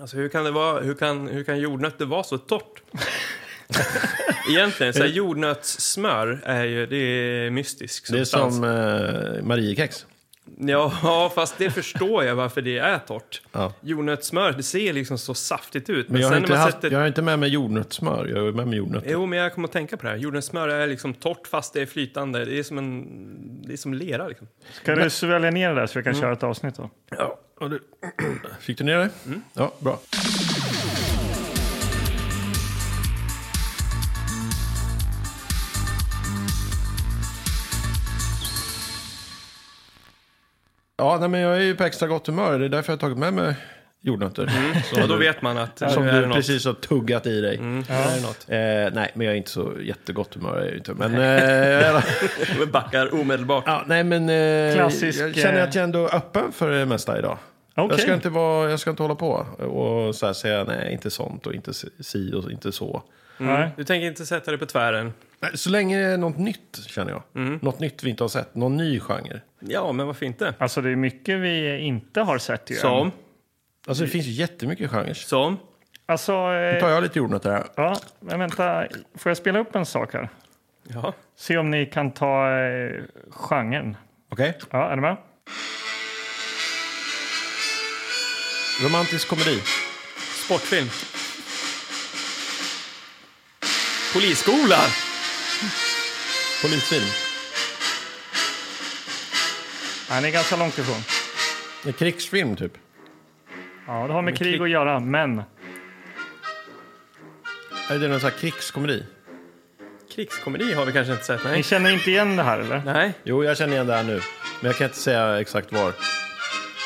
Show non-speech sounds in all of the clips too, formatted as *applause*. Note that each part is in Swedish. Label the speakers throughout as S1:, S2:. S1: Alltså hur kan, det vara, hur, kan, hur kan jordnötter vara så
S2: *laughs*
S1: torrt? Egentligen, så här, jordnötssmör är ju det är mystisk
S2: Det är
S1: substans.
S2: som eh, Mariekex.
S1: Ja, *laughs* fast det förstår jag varför det är torrt.
S2: Ja.
S1: Jordnötssmör, det ser liksom så saftigt ut.
S2: Men jag har,
S1: sen
S2: inte
S1: när man
S2: haft,
S1: sätter...
S2: jag har inte med mig jordnötssmör, jag har med mig jordnötter.
S1: Jo, men jag kommer att tänka på det här. Jordnötssmör är liksom torrt fast det är flytande. Det är som, en... det är som lera liksom.
S3: Ska du svälja ner det där så vi kan köra ett avsnitt då?
S2: Ja, och du... *clears throat* Fick du ner det? Ja, bra. Ja, nej, men jag är ju på extra gott humör. Det är därför jag har tagit med mig jordnötter. *laughs* Som
S1: Och då
S2: du-
S1: vet man att nu
S2: Som
S1: är Mm. det
S2: du
S1: något.
S2: precis har tuggat i dig.
S1: Är det något.
S2: Eh, nej, men jag är inte så jättegott humör. Är jag ju inte. Men, eh,
S1: Vi backar omedelbart.
S2: ja, nej, men eh,
S3: Klassisk,
S2: jag känner
S3: eh,
S2: att jag ändå är öppen för det mesta idag.
S3: Okej.
S2: Jag, ska inte vara, jag ska inte hålla på och så här säga nej, inte sånt och inte si och inte så.
S3: Nej.
S1: Du tänker inte sätta dig på tvären?
S2: Nej, Så länge det är något nytt känner jag. Något nytt vi inte har sett, någon ny genre.
S1: Ja, men varför inte?
S3: Alltså det är mycket vi inte har sett ju.
S1: Som,
S2: Alltså det finns ju jättemycket genrer.
S1: som.
S3: Alltså,
S2: Nu tar
S3: eh,
S2: jag lite jordnötter här.
S3: ja, men vänta. Får jag spela upp en sak här?
S1: Ja.
S3: Se om ni kan ta eh, genren.
S2: Okej?
S3: Ja, är ni med?
S2: Romantisk komedi.
S1: Sportfilm. Polisskolan!
S2: Polisfilm.
S3: Nej, ni är ganska långt ifrån.
S2: En krigsfilm typ.
S3: Ja, det har med krig att göra, men...
S2: Är det någon sån här krigskomedi?
S1: Krigskomedi har vi kanske inte sett,
S3: Ni
S1: nej.
S3: känner inte igen det här, eller?
S1: Nej.
S2: Jo, jag känner igen det här nu. Men jag kan inte säga exakt var.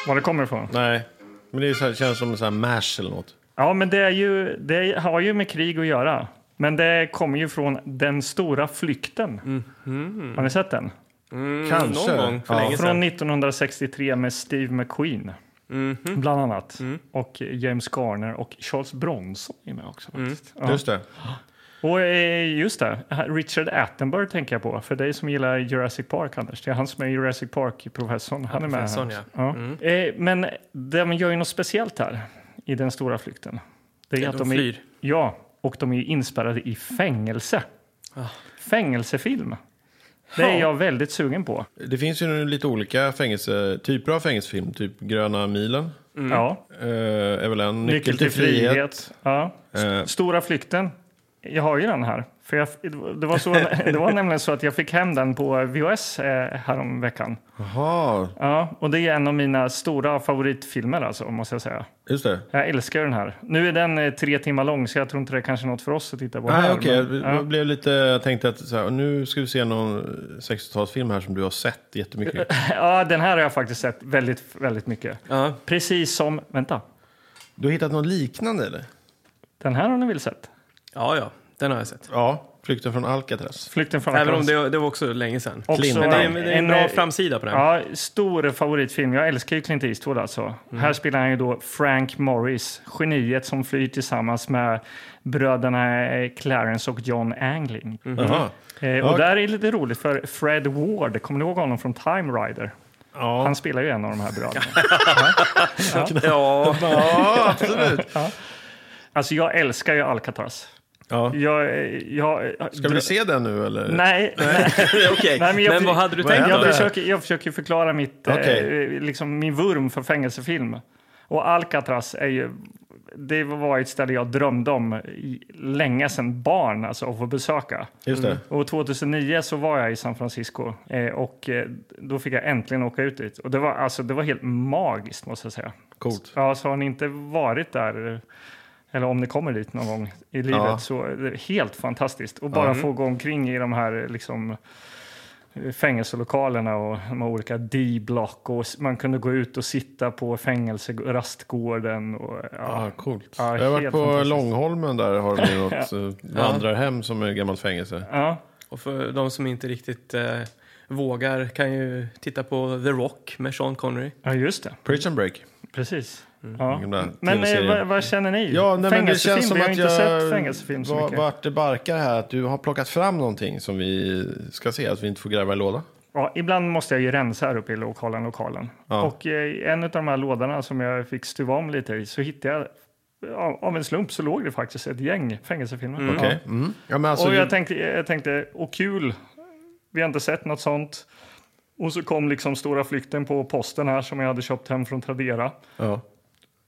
S3: Var det kommer ifrån?
S2: Nej, men det är så här, känns som en sån här mash eller något.
S3: Ja, men det, är ju, det har ju med krig att göra. Men det kommer ju från Den stora flykten. Har ni sett den?
S1: Mm,
S2: Kanske.
S1: Någon gång för
S2: Ja.
S1: länge sedan. Mhm.
S3: Från 1963 med Steve McQueen, bland annat.
S1: Mm.
S3: Och James Garner och Charles Bronson är med också.
S1: Mm.
S3: Faktiskt. Ja.
S2: Just det.
S3: Och eh, just det, Richard Attenborough tänker jag på. För dig som gillar Jurassic Park, Anders. Det är han som är Jurassic Park-professorn. Han är med här.
S1: Professorn,
S3: också.
S1: ja. Mm.
S3: Ja. Eh, Men de gör ju något speciellt här i den stora flykten. Det är
S1: Ja,
S3: att
S1: de
S3: de är,
S1: flyr.
S3: ja, och de är ju inspärrade i fängelse. Fängelsefilm. Det är
S1: Ah. Ja.
S3: jag väldigt sugen på.
S2: Det finns ju nu lite olika fängelse, typer av fängelsefilm. Typ Gröna milen
S1: Mm.
S3: Ja.
S2: eh, är väl en.
S3: Nyckel till frihet. Ja.
S2: Eh,
S3: Stora flykten. Jag har ju den här. För jag, det, var så, det var nämligen så att jag fick hem den på VHS eh, häromveckan.
S2: Eh, Jaha,
S3: Ja, och det är en av mina stora favoritfilmer alltså, måste jag säga.
S2: just det.
S3: Jag älskar ju den här. Nu är den eh, tre timmar lång så jag tror inte det är kanske något för oss att titta på
S2: Nej,
S3: här.
S2: Ah, okej. Jag
S3: men,
S2: b-
S3: ja.
S2: blev lite, jag tänkte att så här, nu ska vi se någon 60-talsfilm här som du har sett
S3: *laughs*
S2: jättemycket.
S3: ja, den här har jag faktiskt sett väldigt, väldigt mycket.
S1: Ja.
S3: Precis som, vänta,
S2: Du har hittat något liknande eller?
S3: den här har ni väl sett?
S1: ja, ja. Den har jag sett.
S2: Ja, Flykten från Alcatraz.
S3: Flykten från
S1: Även om
S3: Alcatraz.
S1: det, det var också länge sedan.
S3: Också
S1: Men
S2: Clinton.
S1: det är, det är en bra
S3: eh,
S1: framsida på den.
S3: Ja, stor favoritfilm. Jag älskar ju Clint Eastwood alltså.
S2: Mm.
S3: Här spelar han ju då Frank Morris, geniet som flyr tillsammans med bröderna eh, Clarence och John Angling.
S2: Jaha.
S3: Eh, och
S2: Mm. Ja.
S3: där är det lite roligt för Fred Ward, kommer ni ihåg honom från Time Rider?
S2: Ja.
S3: Han spelar ju en av de här
S2: *laughs*
S3: bröderna. *laughs*
S1: Ja,
S2: ja, absolut.
S3: Alltså jag älskar ju Alcatraz.
S2: Ja.
S3: Jag, eh, jag,
S2: Ska vi se den nu eller?
S3: Nej, nej.
S1: *laughs* okej.
S3: Nej,
S1: men,
S3: men jag-
S1: vad hade du
S2: Vad
S1: tänkt
S3: Jag,
S2: hände?
S1: då?
S3: försöker, jag försöker förklara mitt,
S2: Okej.
S3: eh, liksom min vurm för fängelsefilm. Och Alcatraz är ju, det var ett ställe jag drömde om i, länge sedan barn, alltså att få besöka.
S2: Just det.
S3: Och 2009 så var jag i San Francisco eh, och eh, då fick jag äntligen åka ut dit. Och det var, alltså, det var helt magiskt måste jag säga.
S2: Coolt.
S3: Ja, så har ni inte varit där, eh, eller om ni kommer dit någon gång i livet,
S2: Ja. Mm.
S3: så är det helt fantastiskt. Och bara få gå omkring i de här eh, liksom, eh, fängelselokalerna och de här olika D-block. Och s- man kunde gå ut och sitta på fängelserastgården. Och,
S2: Ja,
S3: ja.
S2: Ah, coolt.
S3: Ja,
S2: jag har varit
S3: helt
S2: på
S3: fantastiskt.
S2: Långholmen där har de ju
S3: *laughs*
S2: något eh, vandrarhem som är gammalt fängelse.
S3: Ja.
S1: Och för de som inte riktigt eh, vågar kan ju titta på The Rock med Sean Connery.
S3: ja, just det.
S2: Prison break.
S3: Precis. Ja.
S2: Mm. gamla
S3: Men eh,
S2: TV-serien.
S3: vad, vad känner ni?
S2: Ja, nej, men det
S3: Fängelsefilm?
S2: känns som
S3: vi har
S2: att
S3: inte sett
S2: jag
S3: fängelsefilm så
S2: var,
S3: mycket.
S2: vart det barkar här att du har plockat fram någonting som vi ska se, att vi inte får gräva i en låda.
S3: Ja, ibland måste jag ju rensa här uppe i lokalen. lokalen.
S2: Ja.
S3: Och eh, i en av de här lådorna som jag fick stuva om lite i så hittade jag av av en slump så låg det faktiskt ett gäng fängelsefilmer.
S1: Mm.
S3: Ja.
S2: Okej. Mm. Ja, men alltså,
S3: och
S2: ju-
S3: jag tänkte, jag tänkte, åh kul, vi har inte sett något sånt. Och så kom liksom stora flykten på posten här som jag hade köpt hem från Tradera.
S2: ja.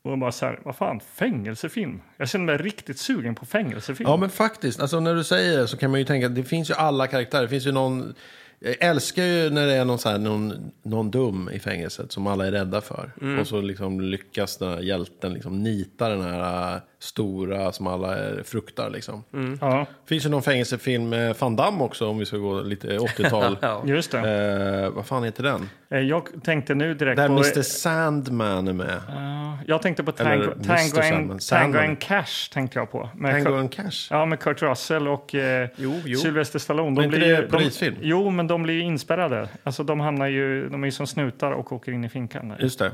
S3: Och jag bara så här, vad fan, fängelsefilm? Jag känner mig riktigt sugen på fängelsefilm.
S2: ja, men faktiskt. Alltså, när du säger det så kan man ju tänka att det finns ju alla karaktärer. Det finns ju någon... Jag älskar ju när det är någon, så här, någon, någon dum i fängelset som alla är rädda för.
S3: Mm.
S2: Och så liksom lyckas den här hjälten liksom nita den här äh, stora som alla är, fruktar. Liksom.
S3: Ja,
S2: finns ju någon fängelsefilm med Van Damme också om vi ska gå lite
S3: *laughs*
S2: 80-tal.
S1: Ja.
S3: just det.
S2: eh, vad fan heter den?
S3: Eh, Jag tänkte nu direkt
S2: Där
S3: på...
S2: Mr Sandman är med.
S3: Ja, jag tänkte på
S2: Eller
S3: Tango,
S2: Mr. Sandman.
S3: Tango, and, Tango
S2: Sandman.
S3: and Cash. tänkte jag på. Med
S2: Tango
S3: Kurt-
S2: and Cash.
S3: Ja, med Kurt Russell och eh,
S1: Jo, jo.
S3: Sylvester Stallone.
S2: Men inte
S3: ju-
S2: det är polisfilm?
S3: De, jo, men de blir ju inspärrade. Alltså, de, hamnar ju, de är ju som snutar och åker in i finkan. Där.
S2: Just det.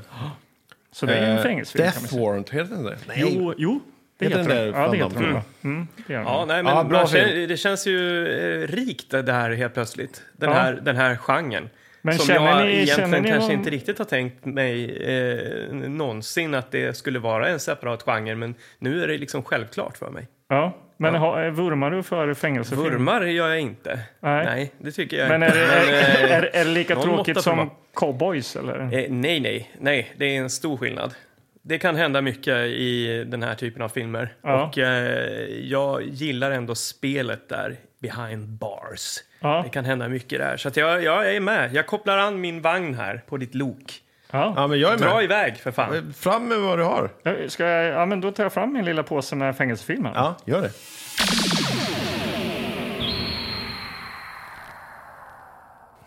S3: Så det är ju en
S2: Eh,
S3: fängelsefilm. kan man
S2: Death
S3: säga.
S2: Warrant, heter den det?
S3: Jo, jo, det
S2: Heter
S3: heter,
S2: den
S3: de.
S2: där
S3: Ja,
S2: Van
S3: det heter
S2: Damme?
S3: de. va? Mm, det gör de.
S1: Ja, nej, men
S2: Ja, bra
S1: man
S2: film.
S1: känner, det känns ju eh, rikt det här helt plötsligt. Den,
S3: Ja.
S1: här, den här genren.
S3: Men
S1: som
S3: känner
S1: jag
S3: ni-
S1: egentligen
S3: känner ni
S1: kanske
S3: någon-
S1: inte riktigt har tänkt mig eh, någonsin att det skulle vara en separat genre. Men nu är det liksom självklart för mig.
S3: Ja, men ha- vurmar du för fängelsefilm?
S1: Vurmar gör jag inte.
S3: Nej.
S1: Nej, det tycker jag
S3: Men är
S1: inte.
S3: det, är,
S1: Men,
S3: är,
S1: eh,
S3: är det lika
S1: någon
S3: tråkigt
S1: måtta får
S3: som
S1: vara.
S3: cowboys? Eller?
S1: Eh, nej, nej, nej. Det är en stor skillnad. Det kan hända mycket i den här typen av filmer.
S3: Ja.
S1: Och eh, jag gillar ändå spelet där, behind bars.
S3: Ja.
S1: Det kan hända mycket där. Så att jag, jag är med. Jag kopplar an min vagn här på ditt lok.
S3: Ja.
S2: Ja, men jag är
S1: Dra
S2: med.
S1: iväg för fan.
S2: Eh, Fram med vad du har.
S3: Ja, Ska jag, ja, men då tar jag fram min lilla påse med fängelsefilmer.
S2: Ja, gör det.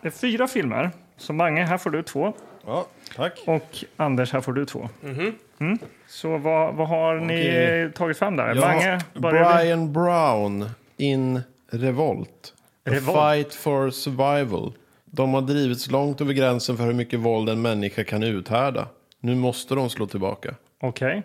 S3: Det är fyra filmer. Så Mange, här får du två.
S2: Ja, tack.
S3: Och eh, Anders, här får du två.
S1: Mhm.
S3: Mm. Så vad, vad har ni
S2: Okej.
S3: eh, tagit fram där?
S2: Jag
S3: Mange,
S2: har
S3: börjar du?
S2: Brian Brown in Revolt. A
S3: Revolt.
S2: Fight for survival. De har drivits långt över gränsen för hur mycket våld en människa kan uthärda. Nu måste de slå tillbaka.
S3: Okej.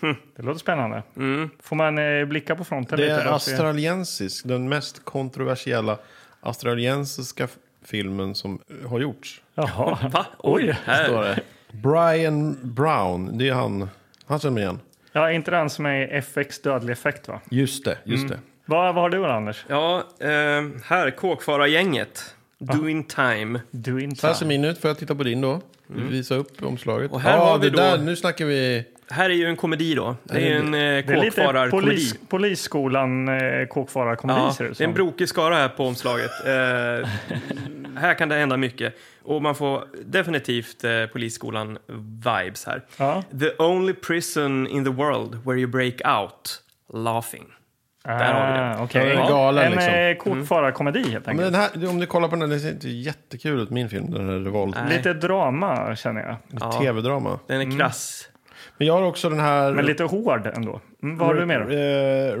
S1: Hm.
S3: Det låter spännande.
S1: Mm.
S3: Får man eh, blicka på fronten
S2: Det
S3: lite?
S2: är
S3: då och se?
S2: australiensisk, den mest kontroversiella australiensiska f- filmen som har gjorts. *laughs*
S3: Jaha.
S1: Va? Oj!
S2: Står
S1: Här.
S2: det. Brian Brown, det är han. Han känner man igen.
S3: Ja, inte den som är FX dödlig effekt va?
S2: Just det, just det.
S3: Vad, vad har du Anders?
S1: Ja, ehm, här. Kåkfara-gänget. Doing time.
S3: Du
S2: Så här
S3: inte.
S2: ser min ut, får jag titta på din då? Visa upp omslaget.
S1: Mm. Och här
S2: ja,
S1: har vi
S2: det
S1: då-
S2: där, nu snackar vi...
S1: Här är ju en komedi då. Det är ju en eh,
S3: Det är lite
S1: kåkfarar-komedi.
S3: polis, polisskolan eh, kåkfararkomedi
S1: Ja,
S3: ser det
S1: det är
S3: som.
S1: en brokig skara här på *laughs* omslaget. Eh, här kan det hända mycket. Och man får definitivt eh, Polisskolan-vibes här.
S3: Ja.
S1: The only prison in the world where you break out laughing. Där har vi Mm. den.
S3: ah, okej.
S2: Ja, galen,
S3: en
S2: liksom.
S3: eh, kåkfararkomedi helt
S2: Men
S3: enkelt.
S2: den här, om du kollar på den, den ser inte jättekul ut, min film. Den här Revolt.
S1: Nej.
S3: Lite drama känner jag.
S1: Äh, Ja.
S2: Tv-drama.
S1: Den är krass.
S2: Men jag har också den här...
S3: Men lite hård ändå. Mm, vad har du mer? då?
S2: Eh,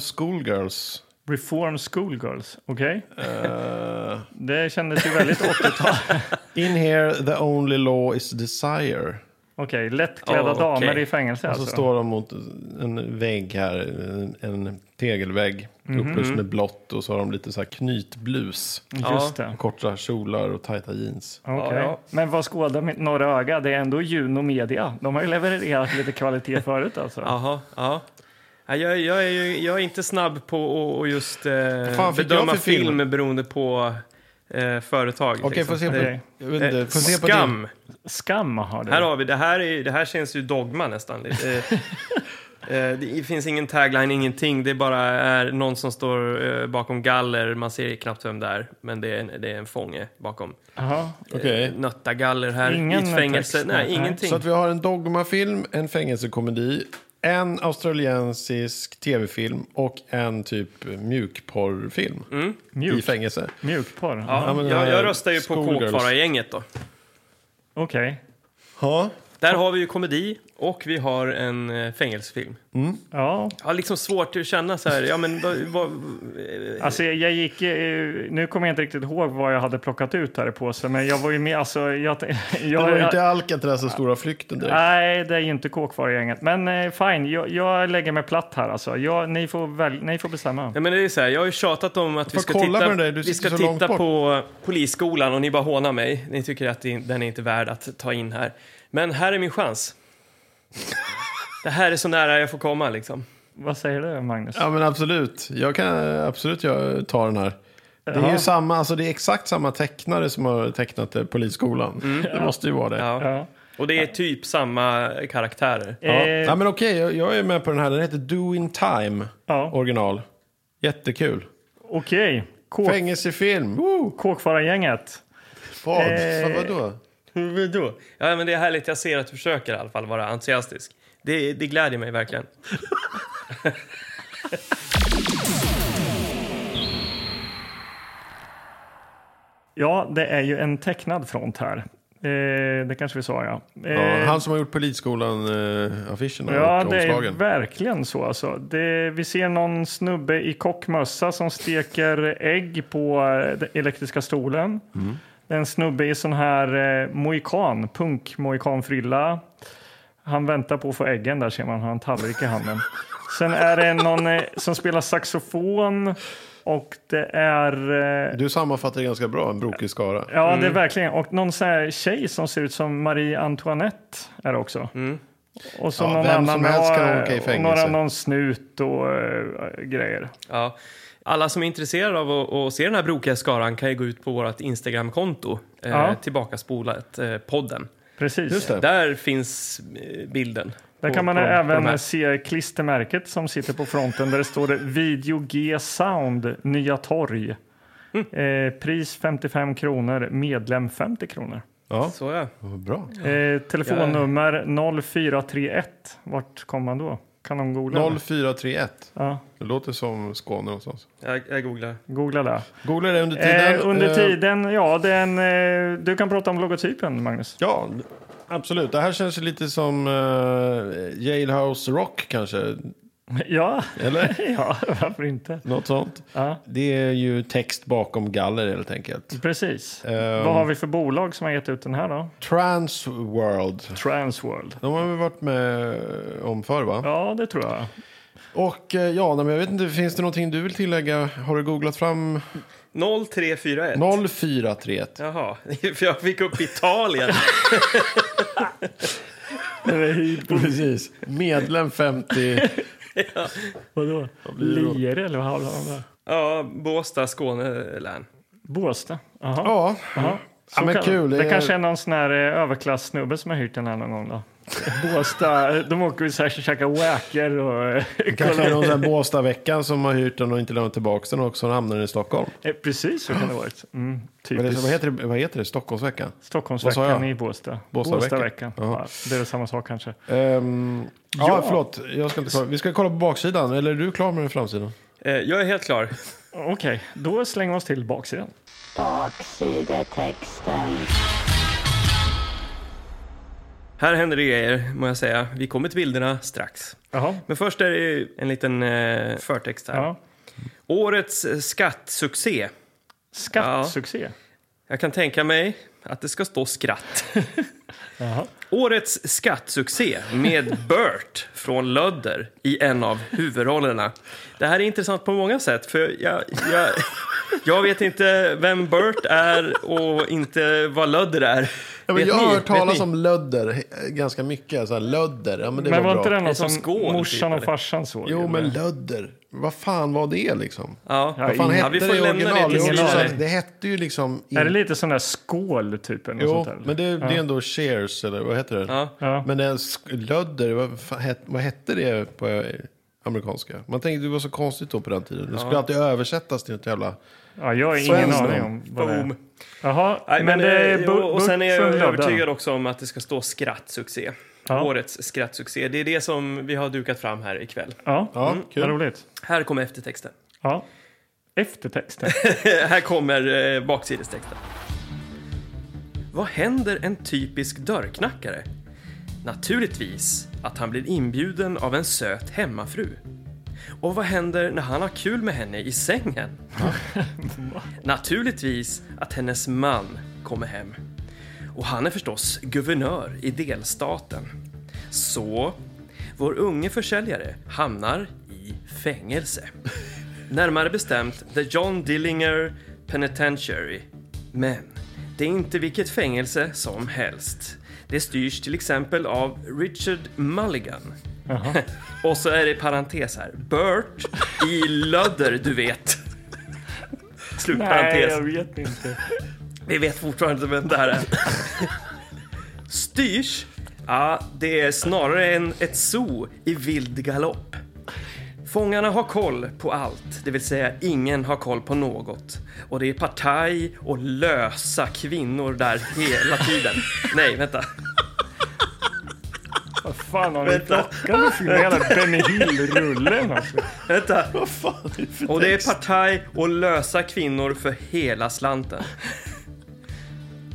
S1: *laughs*
S2: Schoolgirls.
S3: Reform Schoolgirls, okej?
S2: Eh,
S3: Det kändes
S2: *laughs*
S3: ju väldigt 80-tal.
S2: in here the only law is desire.
S3: Okej, lättklädda
S1: Ja, okej.
S3: damer i fängelse
S2: Så
S3: alltså.
S2: står de mot en vägg här, en, en tegelvägg upplyst med blått och så har de lite så här knytblus.
S3: Just det.
S2: Korta kjolar och tajta jeans.
S3: Okej.
S1: Ja, ja.
S3: Men vad skådar mitt norra öga? Det är ändå Juno Media. De har ju levererat
S1: *laughs*
S3: lite kvalitet förut alltså.
S1: Jaha, ja. Ja, Jag, jag, är ju, jag är inte snabb på att- att just eh,
S2: fan fick
S1: bedöma
S2: jag för film?
S1: film beroende på eh, företag.
S2: Okej, får se på,
S3: Okej.
S2: jag vet inte,
S1: Eh,
S2: får se på din.
S1: Skam.
S3: Skam har du.
S1: Här har vi, det här, är, det här känns ju dogma nästan. Eh, eh, Det finns ingen tagline, ingenting. Det är bara är någon som står eh, bakom galler. Man ser knappt vem det är, men det är en, det är en fånge bakom.
S3: Jaha.
S2: Okej.
S1: Nöttagaller här,
S3: Ingen
S1: i ett fängelse.
S3: text,
S1: nej,
S3: nej.
S1: ingenting.
S2: Så att vi har en dogmafilm, en fängelsekomedi, en australiensisk tv-film och en typ mjukporrfilm i
S3: Mjuk,
S2: fängelse.
S3: mjukporr.
S1: ja,
S2: Ja, men
S1: jag,
S2: den här
S1: jag röstar ju på
S2: Schoolgirls.
S1: Kåkfara-gänget då.
S3: Okej.
S2: Ja,
S1: Där har vi ju komedi och vi har en eh, fängelsefilm.
S3: Ja,
S1: Jag har liksom svårt att känna så här, ja men vad, vad,
S3: alltså jag jag gick, eh, nu kommer jag inte riktigt ihåg vad jag hade plockat ut här i påsen, men jag var ju med, alltså jag...
S2: det
S3: *laughs* jag
S2: var ju inte Alcatraz och stora flykten direkt.
S3: Nej, det är ju inte kåkvarugänget. Men eh, fine, jag, jag lägger mig platt här alltså. Jag, ni, får väl, ni får bestämma.
S1: Ja, men det är så här, jag har ju tjatat om att vi
S2: Får
S1: ska
S2: kolla på
S1: titta,
S2: den där, du
S1: vi ska
S2: sitter så långt
S1: titta
S2: bort.
S1: på Polisskolan och ni bara hånar mig. Ni tycker att det- den är inte värd att ta in här. Men här är min chans. Det här är så nära jag får komma liksom.
S3: Vad säger du, Magnus?
S2: Ja men absolut. Jag kan absolut jag ta den här. Det är
S3: Ja.
S2: ju samma, alltså det är exakt samma tecknare som har tecknat eh, Polisskolan. Det måste ju vara det. Ja.
S1: Ja.
S3: Mm. Ja.
S1: Och det är typ samma karaktärer.
S3: Eh,
S2: Ja, men okej, jag, jag är med på den här. Den heter Do In Time,
S3: Ja.
S2: original. Jättekul.
S3: Okej. Okay.
S2: Fängelsefilm, woo!
S3: Kåkfarargänget.
S2: Vad?
S3: Eh.
S2: Vadå?
S1: Vadå? Ja, men det är härligt. Jag ser att du försöker i alla fall vara entusiastisk. Det, det glädjer mig verkligen.
S3: Ja, det är ju en tecknad front här. Eh, det kanske vi sa, ja. Eh,
S2: Ja, han som har gjort eh, Polisskolan-affischerna
S3: Ja,
S2: och
S3: det är
S2: omslagen.
S3: verkligen så. Alltså. Det, vi ser någon snubbe i kockmössa som steker ägg på eh, den elektriska stolen. Det är en snubbe i sån här eh, mohikan, punk-mohikanfrilla. Han väntar på att få äggen där ser man, han har en tallrik i handen. Sen är det någon eh, som spelar saxofon och det är... Eh,
S2: Du sammanfattar det ganska bra, en brokig skara.
S3: ja, det är verkligen... Och någon sån här tjej som ser ut som Marie Antoinette är det också. Och så
S2: Ja,
S3: någon
S2: vem
S3: annan
S2: som helst kan
S3: har-
S2: åka i
S3: och
S2: fängelse.
S3: Några, någon snut och eh, grejer.
S1: Ja. Alla som är intresserade av att, att se den här brokiga skaran kan ju gå ut på vårt Instagramkonto, eh,
S3: Ja.
S1: Tillbakaspolat, eh, podden.
S3: Precis.
S2: Just det.
S1: Där finns eh, bilden.
S3: Där
S1: på-
S3: kan man
S1: på de- på
S3: även
S1: de här.
S3: se klistermärket som sitter på fronten där det står det Video G Sound, Nya Torg. Eh, pris 55 kronor, medlem 50 kronor.
S2: Ja,
S1: Så ja.
S2: vad bra.
S3: Eh, telefonnummer 0431. Vart kom man då? Kan de googla? det?
S2: 0431.
S3: Ja,
S2: Det låter som Skåne någonstans.
S1: Jag, jag googlar.
S3: googla där.
S2: Googla det under tiden.
S3: Eh, under
S2: Eh,
S3: tiden, ja, den, eh, du kan prata om logotypen, Magnus.
S2: Ja, absolut. Det här känns ju lite som eh, Jailhouse Rock kanske.
S3: *laughs* Ja,
S2: Eller?
S3: *laughs* ja varför inte?
S2: Något sånt.
S3: Ja,
S2: Det är ju text bakom galler helt enkelt.
S3: precis.
S2: Ehm.
S3: Vad har vi för bolag som har gett ut den här då?
S2: Transworld.
S3: Transworld.
S2: De har vi varit med eh, om förr va?
S3: Ja, det tror jag.
S2: Och eh, ja, nej, men jag vet inte, finns det någonting du vill tillägga? Har du googlat fram
S1: 0341.
S2: 0431?
S1: Jaha, *laughs* för jag fick upp Italien.
S2: Precis. Medlem 50.
S3: *laughs* Vadå? Lier eller vad har de där?
S1: ja, Båstad, Skåne län.
S3: Båstad? Jaha.
S2: Ja, mm.
S3: Jaha.
S2: Ja, men
S3: Så kan-
S2: kul.
S3: Det
S2: Det-
S3: kanske är någon sån här eh, överklassnubbe som har hyrt den här någon
S2: *laughs*
S3: gång då. Båstad, de åker ju så här och käkar wacker och... eh,
S2: kanske är någon sån här Båstadveckan som har hyrt den och inte lämnat tillbaka den och så hamnar den i Stockholm.
S3: Eh, Precis så kan det ha varit. Mm,
S2: Eller,
S3: typiskt.
S2: så- vad, heter det, vad heter det? Stockholmsveckan? Vad sa
S3: Stockholmsveckan
S2: jag?
S3: i Båstad.
S2: Båstadveckan.
S3: Båstadveckan. Ja, det är samma sak kanske.
S2: Ehm, ja,
S3: Ja.
S2: förlåt. Jag ska inte kolla. Vi ska kolla på baksidan. Eller är du klar med den framsidan?
S1: Eh, jag är helt klar.
S3: Okej, då slänger vi oss till baksidan.
S4: Baksidetexten.
S1: Här händer det grejer, må jag säga. Vi kommer till bilderna strax.
S3: Jaha.
S1: Men först är det ju en liten eh, förtext här.
S3: Ja.
S1: Årets eh, skattsuccé.
S3: Skattsuccé.
S1: Jag kan tänka mig att det ska stå skratt.
S3: *laughs* Jaha.
S1: Årets skattsuccé med Bert från Lödder i en av huvudrollerna. Det här är intressant på många sätt, för jag, jag, jag vet inte vem Bert är och inte vad Lödder är.
S2: Ja, men
S1: Vet
S2: jag
S1: ni?
S2: har hört
S1: Vet
S2: talas
S1: ni?
S2: om lödder eh, ganska mycket. Så här, lödder, ja men det
S3: Men
S2: var,
S3: var inte
S2: bra.
S3: det något
S1: som
S3: som,
S1: skål,
S3: morsan
S1: typ,
S3: och farsan såg?
S2: Jo,
S3: eller?
S2: men lödder. Vad fan var det liksom?
S1: Ja.
S3: Ja,
S2: Vad fan
S3: ingen-
S2: hette
S1: vi får
S2: det i
S1: lämna det
S2: original?
S1: till
S2: Det,
S1: ingen
S2: det,
S1: aning.
S2: det hette ju liksom...
S3: Är det lite sån där skål typ? Eller
S2: jo,
S3: något sånt där?
S2: men det, det är ändå shares eller vad heter det?
S1: Ja.
S3: Ja.
S2: Men den sk- lödder, vad, fan het, vad hette det på eh, amerikanska? Man tänkte det var så konstigt då på den tiden. Det skulle alltid översättas till något jävla...
S3: ja, jag har ingen
S2: Svensson.
S3: aning om vad det är.
S1: Boom.
S3: Jaha,
S1: Nej, men,
S3: det är
S1: eh,
S3: bu-
S1: och, och sen är
S3: Buck
S1: jag
S3: från Lödda.
S1: övertygad också om att det ska stå skrattsuccé.
S3: Ja.
S1: Årets skrattsuccé. Det är det som vi har dukat fram här ikväll.
S3: Ja,
S2: Ja,
S3: vad
S2: kul.
S3: roligt.
S1: Här kommer eftertexten.
S3: Ja.
S1: *laughs*
S3: Eftertexten.
S1: här kommer eh, baksidestexten. Vad händer en typisk dörrknackare? Naturligtvis att han blir inbjuden av en söt hemmafru. Och vad händer när han har kul med henne i sängen? Naturligtvis att hennes man kommer hem. Och han är förstås guvernör i delstaten. Så vår unge försäljare hamnar i fängelse. Närmare bestämt The John Dillinger Penitentiary. Men det är inte vilket fängelse som helst. Det styrs till exempel av Richard Mulligan, *laughs* Och så är det i parentes här. Bert i lödder, du vet.
S3: Nej,
S1: Slutparentes.
S3: jag vet inte.
S1: Vi vet fortfarande inte vem det här är. Styrs? Ja, det är snarare en, ett zoo i vild galopp. Fångarna har koll på allt, det vill säga ingen har koll på något. Och det är partaj och lösa kvinnor där hela tiden. Nej, vänta.
S3: Vad fan har ni plockat för hela Benny Hill-rullen? Alltså.
S1: Vänta.
S2: *laughs* Vad fan är det för
S1: Och det är
S2: text?
S1: partaj och lösa kvinnor för hela slanten.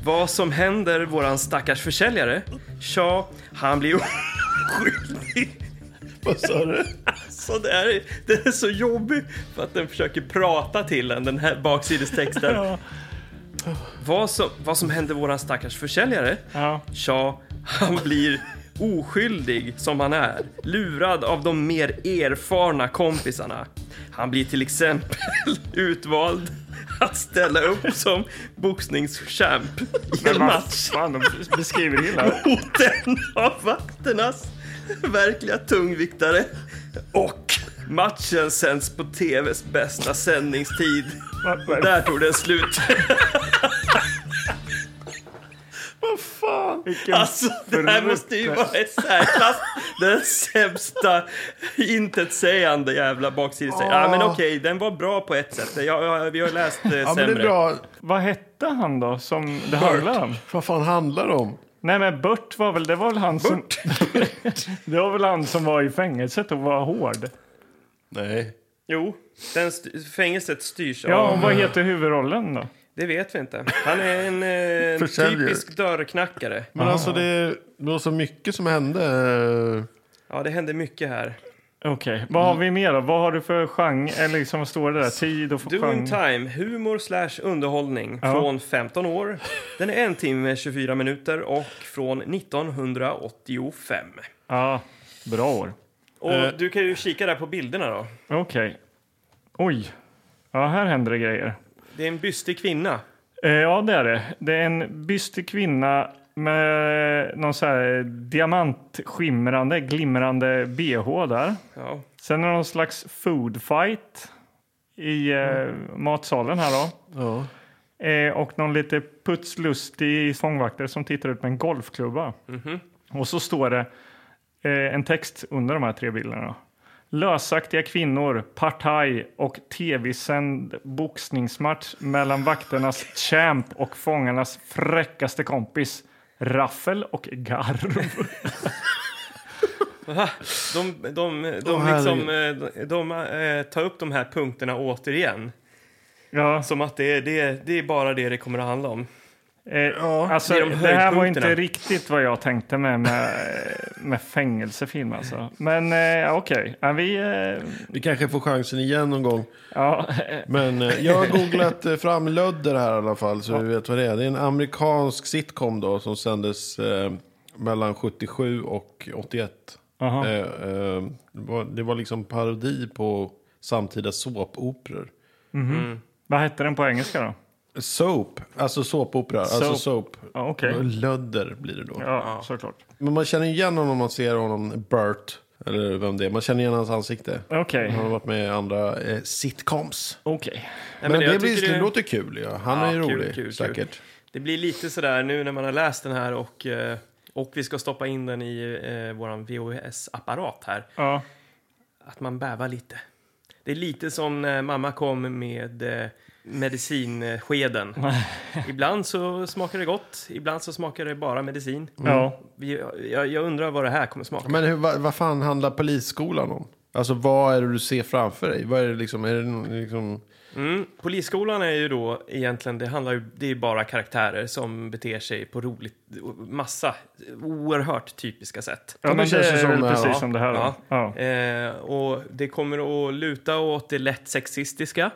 S1: Vad som händer våran stackars försäljare? Tja, han blir *laughs* oskyldig.
S2: Vad sa du?
S1: Så det är, det är så jobbigt för att den försöker prata till en, den här
S2: *laughs*
S1: baksidestexten.
S3: Ja.
S1: Vad, som, vad som händer våran stackars försäljare?
S3: Ja.
S1: Tja, han blir oskyldig som han är, lurad av de mer erfarna kompisarna. Han blir till exempel *laughs* utvald att ställa upp som boxningschamp i en
S3: Men vad
S1: match
S3: fan, de
S1: *laughs*
S3: beskriver illa.
S1: mot en av vakternas verkliga tungviktare. Och matchen sänds på TVs bästa sändningstid.
S3: Vad-
S1: Och
S3: vad-
S1: där tog den slut.
S2: Vad fan?
S1: *laughs*
S3: Vilken
S1: Alltså, det här måste ju vara i särklass den sämsta intetsägande jävla baksidestexten. Ja, men okej, den var bra på ett sätt. Jag, jag, vi har läst eh,
S2: Ah. Ja, men det
S1: sämre.
S2: är bra.
S3: Vad hette han då som det handlar om?
S2: Vad fan handlar det om?
S3: Nej men Burt var väl, det var väl han som... *laughs* det var väl han som var i fängelset och var hård.
S2: Nej.
S1: Jo, den st- fängelset styrs
S3: Ja,
S1: av...
S3: och vad heter huvudrollen då?
S1: Det vet vi inte. Han är en eh,
S2: Försäljare.
S1: typisk dörrknackare.
S3: Ah.
S2: Men alltså det, det var så mycket som hände. eh,
S1: Ja, det händer mycket här.
S3: Okej, vad har vi mer då? Vad har du för genre, eller liksom vad står det där? Tid och för
S1: Doing
S3: genre?
S1: time, humor slash underhållning
S3: Ja.
S1: från 15 år. Den är en timme 24 minuter och från 1985.
S3: Ja, bra år.
S1: Och
S2: Eh.
S1: du kan ju kika där på bilderna då.
S3: Okej. Oj. Ja, här händer det grejer.
S1: Det är en bystig kvinna.
S3: Eh, Ja, det är det. Det är en bystig kvinna med någon så här diamantskimrande, glimrande bh där.
S1: Ja.
S3: Sen är det någon slags food fight i eh, matsalen här då.
S2: Ja.
S3: Eh, och någon lite putslustig fångvaktare som tittar ut med en golfklubba.
S1: Mhm.
S3: Och så står det eh, en text under de här tre bilderna. Lösaktiga kvinnor, partaj och tv-sänd boxningsmatch
S1: *laughs*
S3: mellan vakternas champ och fångarnas fräckaste kompis. Raffel och
S1: *laughs*
S3: Garv.
S1: De, de, de,
S2: Åh,
S1: liksom, eh, de, de eh, tar upp de här punkterna återigen.
S3: Ja,
S1: Som att det är, det, är- det är bara det det kommer att handla om.
S3: eh,
S2: Ja,
S3: alltså,
S1: det är
S3: det,
S1: de
S3: här var
S1: höjdpunkterna.
S3: inte riktigt vad jag tänkte med, med, med fängelsefilm. Alltså. Men eh, okej, ja, vi... Eh,
S2: Vi kanske får chansen igen någon gång.
S3: ja,
S1: *laughs*
S2: Men eh, jag har googlat eh, fram Lödder här i alla fall så vi vet vad det är. Det är en amerikansk sitcom då som sändes eh, mellan 77 och 81.
S3: aha.
S2: Eh, eh, det, var, det var liksom parodi på samtida såpoperor.
S3: Vad hette den på engelska då?
S2: Soap, alltså såpopera, alltså
S3: Soap.
S2: soap.
S3: Ja, okej.
S2: Mm. Lödder blir det då.
S3: Ja, såklart.
S2: Men man känner igen honom om man ser honom, Bert, eller vem det är. Man känner igen hans ansikte.
S3: Okej.
S2: Han har varit med i andra eh, sitcoms.
S3: Okej.
S1: Nej,
S2: men
S1: jag
S2: det, blir,
S1: tycker
S2: det låter kul. Ja. Han
S1: Ja,
S2: är ju
S1: kul,
S2: rolig,
S1: kul, kul.
S2: säkert.
S1: Det blir lite sådär nu när man har läst den här och, eh, och vi ska stoppa in den i eh, våran VHS-apparat här.
S3: Ja.
S1: Att man bävar lite. Det är lite som när mamma kom med eh,
S2: *laughs*
S1: medicinskeden. ibland så smakar det gott, ibland så smakar det bara medicin.
S3: Ja.
S1: Vi, jag, jag undrar vad det här kommer smaka.
S2: Men hur, vad, vad fan handlar polisskolan om? Alltså vad är det du ser framför dig? Vad är det liksom, är det någon- liksom...
S1: Mm. Polisskolan är ju då egentligen, det handlar ju, det är bara karaktärer som beter sig på roligt, massa oerhört typiska sätt.
S3: ja, men det
S2: det känns ju
S3: är
S2: som
S3: väl
S2: det här,
S3: precis
S2: va?
S3: som det här. då.
S1: Ja.
S3: Ja.
S1: Eh, och det kommer att luta åt det lätt sexistiska.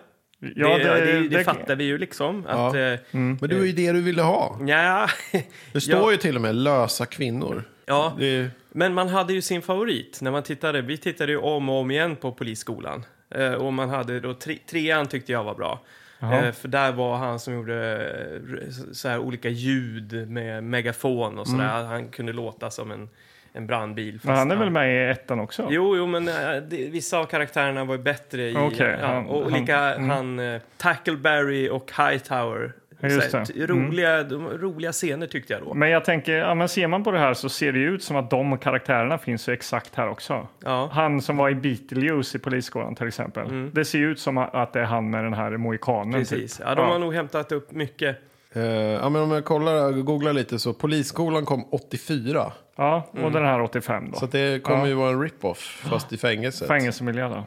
S3: Ja,
S1: det, det, det, fattar vi ju liksom. Att,
S2: Ja.
S1: eh,
S2: Men det var ju det du ville ha.
S1: nja, *laughs*
S2: Det står ju till och med lösa kvinnor.
S1: ja.
S2: Det är,
S1: Men man hade ju sin favorit när man tittade. Vi tittade ju om och om igen på Polisskolan. Eh, och man hade då tre, trean tyckte jag var bra. Eh, för där var han som gjorde eh, så här olika ljud med megafon och sådär. Han kunde låta som en, en brandbil.
S3: Mm. Men
S1: fast
S3: han är väl med i ettan också?
S1: Jo, jo, men eh, det, vissa av karaktärerna var ju bättre i...
S3: Okej,
S1: ja,
S3: han-
S1: och
S3: han-
S1: lika han, eh, Tackleberry och Hightower.
S3: Ja, just
S1: Så här,
S3: det. Mm.
S1: t- Roliga, de, roliga scener tyckte jag då.
S3: Men jag tänker, ja, men ser man på det här så ser det ju ut som att de karaktärerna finns ju exakt här också.
S1: Ja.
S3: Han som var i Beetlejuice i Polisskolan till exempel. Det ser ju ut som att det är han med den här mohikanen.
S1: Precis.
S3: Typ.
S1: Ja, de har
S3: Ja.
S1: nog hämtat upp mycket.
S2: Eh, ja, men om jag kollar, googlar lite så polisskolan kom 84.
S3: Ja, och den här 85 då.
S2: Så att det kommer
S3: Ja.
S2: ju vara en rip-off, fast i fängelset.
S3: Fängelsemiljö då.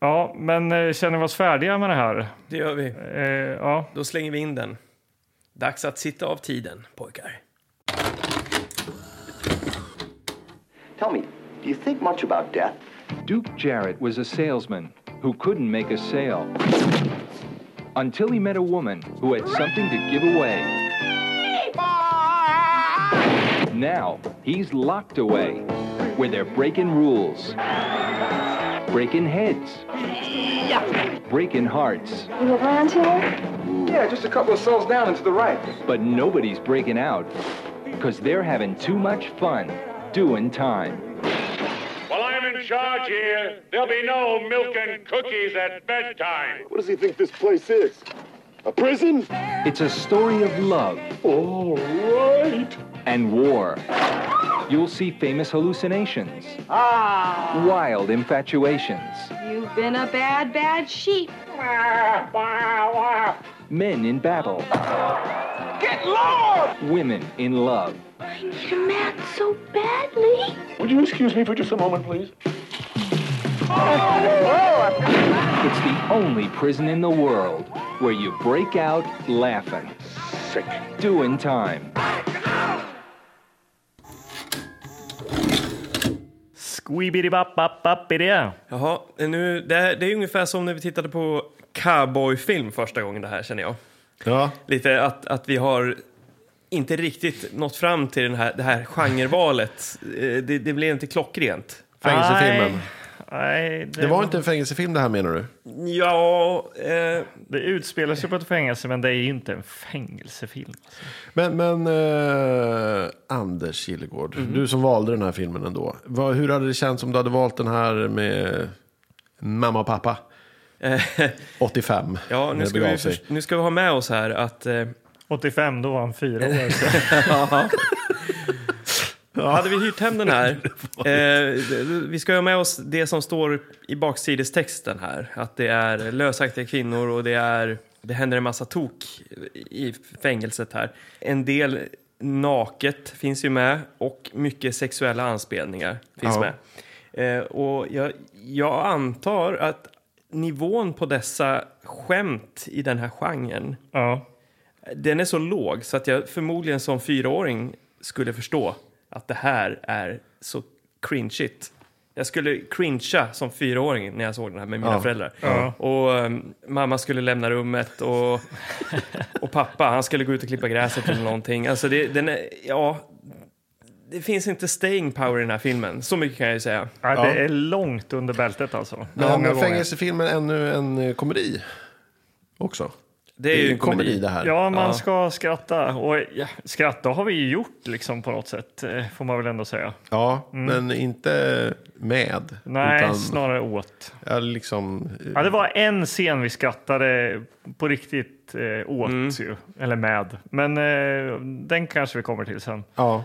S3: Ja, men eh, känner vi oss färdiga med det här?
S1: Det gör vi.
S3: Eh, ja.
S1: Då slänger vi in den. Dags att sitta av tiden, pojkar.
S4: Tell me, do you think much about death?
S5: Duke Jarrett was a salesman who couldn't make a sale until he met a woman who had something to give away. Now he's locked away where they're breaking rules, breaking heads, breaking hearts,
S6: You around here?
S7: Yeah, just a couple of cells down and to the right.
S5: but nobody's breaking out because they're having too much fun doing time.
S8: While I'm in charge here, there'll be no milk and cookies at bedtime.
S7: What does he think this place is? A prison?
S5: It's a story of love
S7: All right.
S5: and war. You'll see famous hallucinations,
S7: Ah.
S5: wild infatuations,
S6: You've been a bad, bad sheep.
S5: men in battle,
S7: Get low!
S5: women in love.
S6: I need a mat so badly.
S7: Would you excuse me for just a moment, please?
S5: It's the only prison in the world where you break out laughing,
S7: Sick.
S5: doing time.
S3: Squibidi-bap-bap-bap-bidi.
S1: Jaha, nu, det, här- det är ungefär som när vi tittade på cowboyfilm första gången det här känner jag.
S2: Ja.
S1: Lite att, att vi har inte riktigt nått fram till den här, det här genrevalet. Eh, Det, det blev inte klockrent.
S2: Fängelsefilmen.
S3: Nej, nej, det,
S2: Det var inte en fängelsefilm det här menar du?
S1: Ja, eh,
S3: det utspelar sig på ett fängelse, men det är ju inte en fängelsefilm.
S2: Men, men eh, Anders Gillegård, du som valde den här filmen ändå. Vad, hur hade det känts om du hade valt den här med mamma och pappa? Eh. 85.
S1: ja
S2: när
S1: nu,
S2: det
S1: ska
S2: begav
S1: vi,
S2: sig.
S1: först- nu ska vi ha med oss här att eh,
S3: 85, då var han
S2: *laughs*
S3: fyra år.
S1: hade vi hyrt hem den här, eh, vi ska ha med oss det som står i baksidestexten här. Att det är lösaktiga kvinnor och det, är, det händer en massa tok i fängelset här. En del naket finns ju med och mycket sexuella anspelningar finns
S2: Ja.
S1: med. Eh, och jag, jag antar att nivån på dessa skämt i den här genren
S3: Ja.
S1: den är så låg så att jag förmodligen som fyraåring skulle förstå att det här är så cringeigt. Jag skulle cringea som fyraåring när jag såg den här med mina
S2: Ja.
S1: föräldrar.
S3: Ja.
S1: Och ehm, mamma skulle lämna rummet
S2: *laughs*
S1: och, och pappa han skulle gå ut och klippa gräset eller någonting. Alltså det, den är, ja, det finns inte staying power i den här filmen. Så mycket kan jag ju säga.
S3: Ja, det är långt under bältet alltså.
S2: Men
S3: Många gånger.
S2: fängelsefilmen är ännu en eh, komedi också.
S1: Det är ju
S2: en komedi det här.
S3: Ja, man ska skratta. Och ja, skratta har vi ju gjort liksom på något sätt, eh, får man väl ändå säga.
S2: Ja, men inte med.
S3: Mm. Nej,
S2: utan
S3: snarare åt.
S2: ja, liksom, eh,
S3: Ja, det var en scen vi skrattade på riktigt eh, åt
S2: Mm.
S3: ju, eller med. Men eh, den kanske vi kommer till sen.
S2: Ja.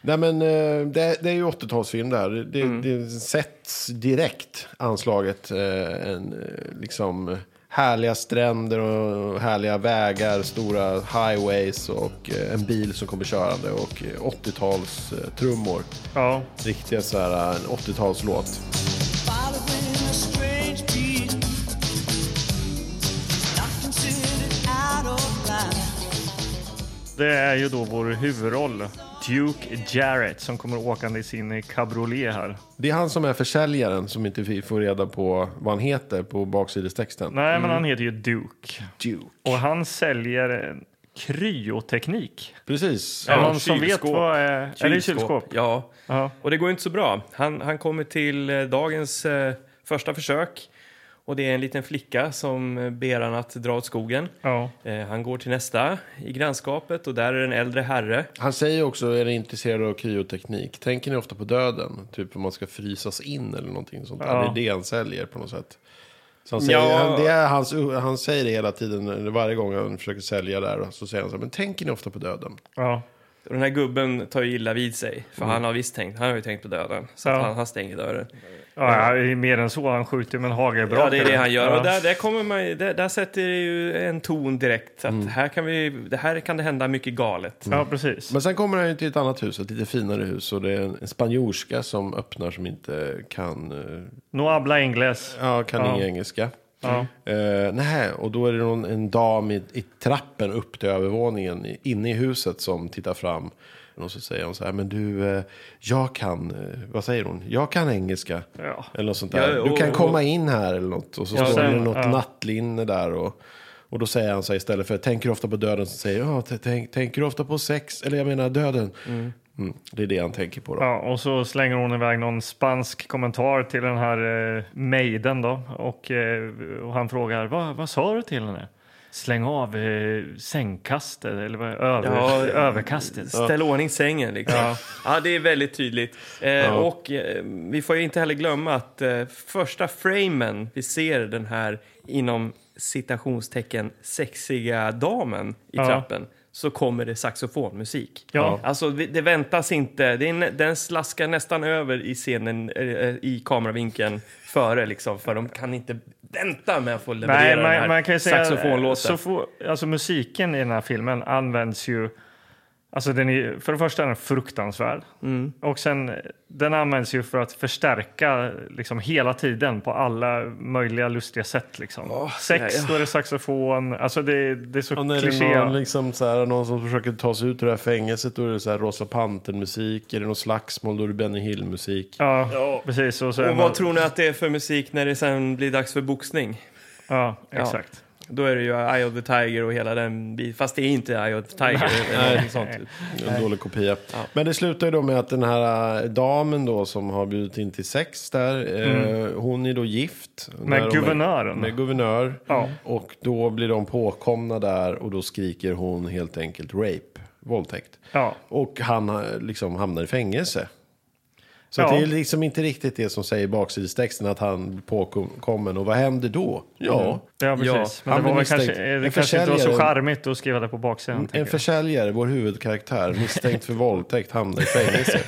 S2: Nej, men, eh, det, det är ju 80-talsfilm där. Det, det sätts direkt anslaget. eh, En, eh, liksom, härliga stränder och härliga vägar, stora highways och eh, en bil som kommer körande och eh, 80-talstrummor.
S3: Ja,
S2: Riktiga så här, eh, en 80-talslåt.
S9: Following a strange beat, not considered out of line.
S3: det är ju då vår huvudroll, Duke Jarrett, som kommer åkande i sin cabriolet här.
S2: Det är han som är försäljaren som inte vi får reda på vad han heter på baksidestexten.
S3: Nej,
S1: Mm.
S3: men han heter ju Duke.
S2: Duke.
S3: Och han säljer en kryoteknik.
S2: Precis.
S3: Är det
S1: Ja,
S3: någon som vet
S1: kylskåp.
S3: vad är... Kylskåp. Är det kylskåp?
S1: Ja.
S3: Ja.
S1: Och det går ju inte så bra. Han, han kommer till eh, dagens eh, första försök Och det är en liten flicka som eh, ber han att dra åt skogen.
S3: Ja.
S1: Eh, han går till nästa i grannskapet och där är en äldre herre.
S2: Han säger ju också, är ni intresserade av kryoteknik? Tänker ni ofta på döden? Typ om man ska frysas in eller någonting sånt.
S3: Ja.
S2: Ja. Det är det han säljer på något sätt. Så han, säger,
S1: Ja.
S2: han, det är hans, han säger det hela tiden, varje gång han försöker sälja där. Så säger han så här, men tänker ni ofta på döden?
S3: Ja.
S1: Och den här gubben tar ju illa vid sig, för han har visst tänkt, han har ju tänkt på döden. Så
S3: Mm. Ja.
S1: att han, han stänger dörren.
S3: Ja, ja, mer än så. Han skjuter med en hagelbrak.
S1: Ja, det är det han gör.
S3: Ja.
S1: Och där, där, kommer man, ju- där, där sätter det ju en ton direkt. Att
S3: Mm.
S1: här, kan vi, det här kan det hända mycket galet.
S3: Ja, precis.
S2: Men sen kommer han ju till ett annat hus, ett lite finare hus. Och det är en spanjorska som öppnar som inte kan, eh,
S3: No habla ingles.
S2: ja, kan
S3: Ja.
S2: ingen engelska.
S3: Ja.
S2: Uh, nej, och då är det någon, en dam i, i trappen upp till övervåningen i- inne i huset som tittar fram. Och så säger hon så här, men du, eh, jag kan, eh, vad säger hon? Jag kan engelska.
S3: Ja.
S2: Eller något sånt där.
S1: Ja,
S2: du
S1: och-
S2: kan
S1: och-
S2: komma in här eller något. Och så
S3: Ja,
S2: står det
S3: sen-
S2: något
S3: ja.
S2: nattlinne där. Och, och då säger han så här istället för, tänker du ofta på döden? Så säger jag, "Ja, tänk, tänker du ofta på sex? Eller jag menar döden. Mm, det är det han tänker på då.
S3: Ja, och så slänger hon iväg någon spansk kommentar till den här eh, maiden då. Och, eh, och han frågar, "Va- vad sa du till henne? Släng av eh, sängkastet, eller vad, över,
S1: Ja.
S3: överkastet.
S1: Ställ ordning sängen liksom. Ja. det är väldigt tydligt. Eh, Och eh, vi får ju inte heller glömma att eh, första framen vi ser den här inom citationstecken sexiga damen i
S3: Ja.
S1: trappen så kommer det saxofonmusik.
S3: Ja.
S1: Alltså det det väntas inte, det är, nä- den slaskar nästan över i scenen, eh, eh, i kameravinkeln före liksom, för de kan inte vänta med att få leverera
S3: Nej,
S1: den
S3: man,
S1: här
S3: man kan ju säga,
S1: saxofonlåten.
S3: så få, alltså musiken i den här filmen används ju, alltså den är, för det första är den fruktansvärd. Och sen, den används ju för att förstärka liksom hela tiden på alla möjliga lustiga sätt liksom. Sex,
S1: ja, ja.
S3: då är det saxofon, alltså det, det är
S2: Och
S3: så
S2: när det
S3: kliché.
S2: är någon, liksom, så här, någon som försöker ta sig ut ur det här fängelset då är det så här Rosa Pantern-musik. Är det någon slagsmål då är det Benny Hill-musik.
S3: Ja, precis. Och, så är
S1: Och
S3: man,
S1: vad tror ni att det är för musik när det sen blir dags för boxning?
S3: Ja, exakt.
S1: Då är det ju Eye of the Tiger och hela den biten. Fast det är inte Eye of the Tiger. eller någonting sånt.
S2: typ. En dålig kopia. Men det slutar ju då med att den här äh, damen då som har bjudit in till sex där. Eh, hon är då gift. När de är-
S3: Mm. guvernören.
S2: Med guvernör.
S3: Ja.
S2: Och då blir de påkomna där och då skriker hon helt enkelt rape. Våldtäkt.
S3: Ja.
S2: Och han eh, liksom hamnar i fängelse. Så
S3: Ja.
S2: att det är liksom inte riktigt det som säger i baksidestexten att han blir påkommen. Och vad händer då? Mm. Ja.
S3: Ja, precis. Men
S2: han
S3: det,
S2: blir
S3: var väl kanske,
S2: misstänkt.
S3: eh, det
S2: En
S3: kanske inte var så
S2: försäljare-
S3: charmigt att skriva det på baksidan. tänker
S2: En
S3: jag.
S2: försäljare, vår huvudkaraktär, misstänkt för våldtäkt, hamnar i fängelse.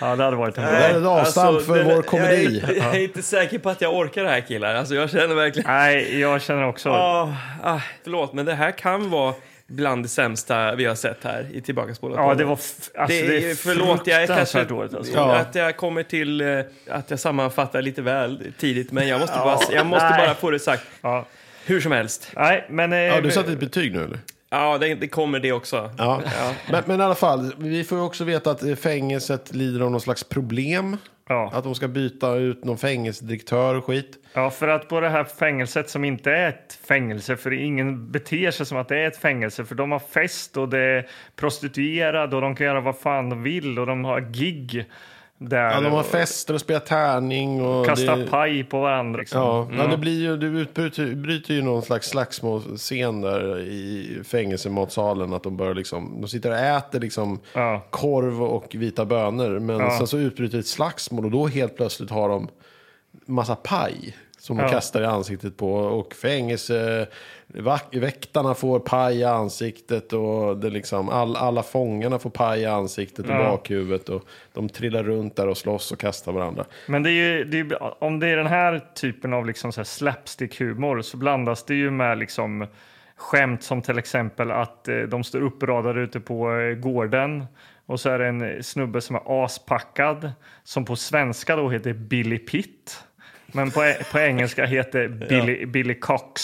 S3: ja, det hade varit en bra.
S2: Det här är ett avstamp för
S1: den-
S2: vår komedi.
S1: Alltså, Jag är, jag är inte säker på att jag orkar det här killar. Alltså jag känner verkligen...
S3: Nej, jag känner också...
S1: Ah, ah, förlåt, men det här kan vara bland det sämsta vi har sett här i Tillbakaspolat.
S3: Ja, det var... f- Alltså,
S1: Det är, förlåt, jag är kanske
S3: fruktansvärt dåligt. Alltså.
S2: Ja.
S1: att jag kommer till eh, att jag sammanfattar lite väl tidigt, men jag måste, bara, jag måste
S3: nej.
S1: bara få det sagt.
S3: Ja.
S1: Hur som helst,
S3: Nej, men... eh,
S2: Ja, du satte ett betyg nu eller?
S1: ja, det, det kommer det också.
S2: Ja. Men, men i alla fall, vi får ju också veta att eh, fängelset lider av någon slags problem.
S3: ja.
S2: Att de ska byta ut någon fängelsedirektör och skit.
S3: ja, för att på det här fängelset som inte är ett fängelse, för ingen beter sig som att det är ett fängelse, för de har fest och det är prostituerade och de kan göra vad fan de vill och de har gig där.
S2: Ja, de har
S3: och
S2: fester och spelar tärning. Och
S3: kastar
S2: det...
S3: paj på varandra. Liksom.
S2: Ja, ja det blir ju, du utbryter bryter ju någon slags slagsmålscen där i fängelsematsalen. Att de börjar liksom, de sitter och äter liksom
S3: Ja.
S2: korv och vita bönor. Men
S3: Ja.
S2: sen så utbryter ett slagsmål och då helt plötsligt har de massa paj. Som de
S3: Ja.
S2: kastar i ansiktet på. Och fängelseväktarna får paj i ansiktet. Och det liksom, all, alla fångarna får paj i ansiktet och bakhuvudet. Och de trillar runt där och slåss och kastar varandra.
S3: Men det är ju, det är, ju- om det är den här typen av liksom så här slapstick-humor så blandas det ju med liksom skämt som till exempel att eh, de står uppradade ute på eh, gården och så är det en snubbe som är aspackad som på svenska då heter Billy Pitt men på, på engelska heter Billy, Billy Cox.